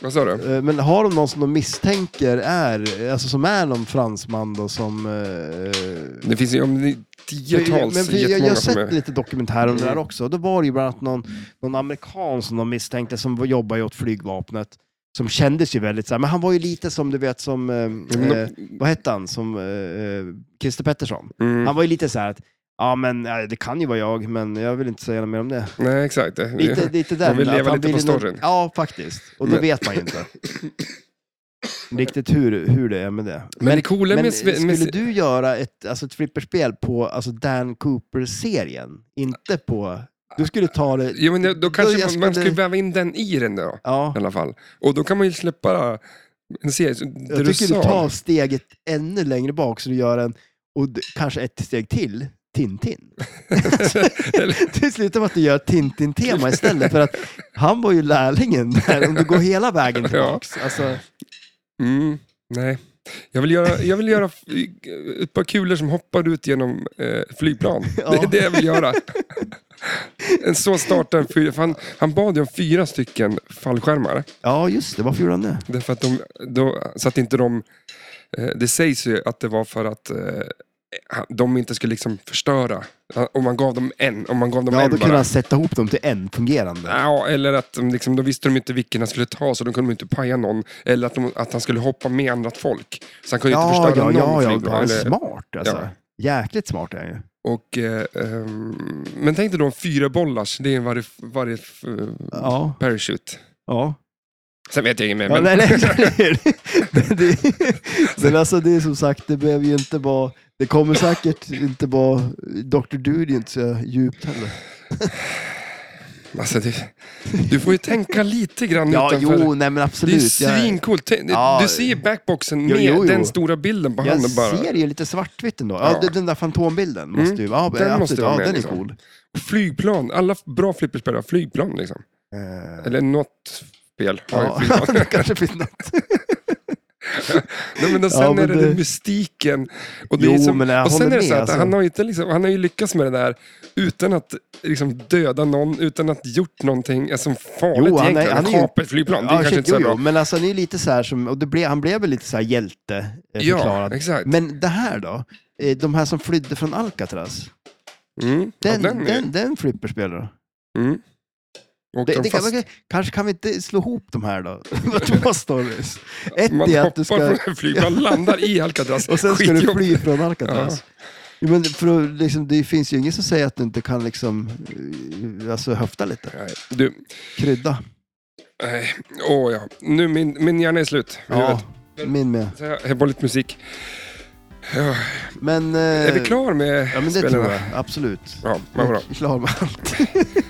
Vad sa du? Eh, Men har de någon som de misstänker är, alltså som är någon fransman då som... Eh, Det finns ju om det är tiotals, men vi, jag, jag jättemånga har som sett är... Mm. lite dokumentärer om det där också. Då var det ju bland annat någon, någon amerikan som de misstänkte som jobbar ju åt flygvapnet. Som kändes ju väldigt så här, men han var ju lite som du vet som, eh, men de- eh, vad hette han, som eh, eh, Christer Pettersson. Mm. Han var ju lite så här att, ja men eh, det kan ju vara jag, men jag vill inte säga mer om det. Nej, exakt. Det- Lite, lite där. Man vill att leva han lite på ville nå- storyn. Ja, faktiskt. Och då Men- vet man <laughs> ju inte riktigt hur, hur det är med det. Men det coola Men med... skulle med du göra ett, alltså ett flipperspel på alltså Dan Cooper-serien? Inte på... Du skulle ta det... Jo, men då, då jag kanske man, man skulle- skulle väva in den i den då. Ja, I alla fall. Och då kan man ju släppa en serie. så- Det jag du tycker sa. du tar steget ännu längre bak så du gör en, och d- kanske ett steg till, Tintin. <laughs> <laughs> Eller- Det slutar med att du gör Tintin-tema istället, för att han var ju lärlingen där, om du går hela vägen tillbaks. Alltså, Mm, nej. Jag vill göra, jag vill göra fly- ett par kulor som hoppar ut genom eh, flygplan. <laughs> Ja. Det är det jag vill göra. En så startar en fyra, för han, han bad ju om fyra stycken fallskärmar. ja, just det. Varför gjorde han det? Därför att de, då, så att inte de... Eh, det sägs ju att det var för att eh, han- de inte skulle liksom förstöra. Ja, Om man gav dem en. Om man gav dem Ja, en då bara. kunde han sätta ihop dem till en fungerande. Ja, eller att de liksom, då visste de inte vilken han skulle ta, så de kunde de inte paja någon. Eller att, de, att han skulle hoppa med annat folk. Så han kunde ju inte Ja, förstöra ja, någon ja, ja. flygplan. Han är eller, smart alltså. Jäkligt smart är han ju. och, eh, ehm, men tänk dig då en fyra bollars, det är varje, varje eh, Ja, parachute. ja. Sen vet jag inget mer. Ja, men, nej, nej, nej. Men det, men alltså det är som sagt, det behöver ju inte vara, det kommer säkert inte vara, Dr. Dude är inte så djupt heller. <laughs> Alltså, det, du får ju tänka lite grann Ja, utanför. jo, nej men det är ju absolut. Jag, svincoolt. Tänk- Ja. Du ser backboxen Jo, med jo, jo. den stora bilden på jag handen bara. ser ju lite svartvitt ändå. Ja, Ja. Mm. det- Den där fantombilden måste ju, Den ja, absolut, måste vara ja, med, den är liksom. cool. Flygplan, alla bra flipperspelare har flygplan liksom. Eh, Eller något spel har ju Ja, flygplan. <laughs> det kanske finns något. Nej, men då, sen <laughs> Ja, men är det, det- den mystiken. Och, det Jo, är som, men jag och sen håller är det så med, att alltså. han, har ju inte liksom, han har ju lyckats med det där utan att liksom, döda någon, utan att gjort någonting alltså, farligt Jo, han är- egentligen. han Han är ju- Kapa ett flygplan, det är Ja, kanske shit, inte så jo, bra. jo, men alltså han är ju lite så här som, och det blev, han blev väl lite så här hjälte, eh, ja, förklarad. exakt. Men det här då? Eh, De här som flydde från Alcatraz? Mm. Den, ja, den, är- den, flipperspelar då? Mm. Åkte Det, de det kan, fast? man- kanske kan vi inte slå ihop de här då? <laughs> <laughs> Två stories. Ett Man är att hoppar du ska... från en <laughs> flygplan, landar i Alcatraz. Och sen ska du Skitjobb. fly från Alcatraz. Jo, men för att, liksom, det finns ju ingen som säger att du inte kan liksom, eh, alltså, höfta lite. Nej, Du, Krydda. nej. Åh ja. Nu, min, min hjärna är slut. Ja, Ja. min med. Så jag har bara lite musik. Ja. Men, eh, Är vi klara med Ja, men det spelarna? tror jag. Absolut. Ja, vad bra. Jag är Klar med <laughs> allt.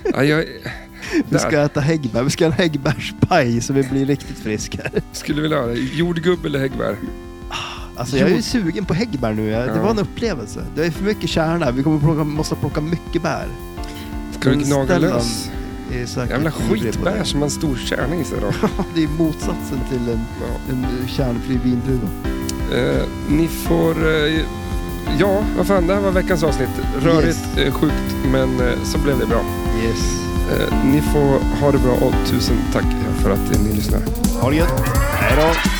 Ja, jag Vi Där. ska äta häggbär. Vi ska ha en häggbärspaj så vi blir riktigt friska. skulle vilja ha det. Jordgubb eller häggbär? Alltså jag är ju sugen på häggbär nu. Jag- Det Ja. var en upplevelse. Det är för mycket kärna. Vi kommer plocka, måste plocka mycket bär. Ska du Men gnaga Stellan lös? är säkert Jävla ivrig på det. skitbär som har en stor kärna i sig då. <laughs> Det är motsatsen till en, Ja. en kärnfri vindruva. Eh, ni får... Eh, ja, vad fan, det här var veckans avsnitt. Rörigt, Yes. eh, sjukt, men eh, så blev det bra. Yes. Eh, ni får ha det bra och tusen tack för att ni lyssnar. Ha det gött. Hej då.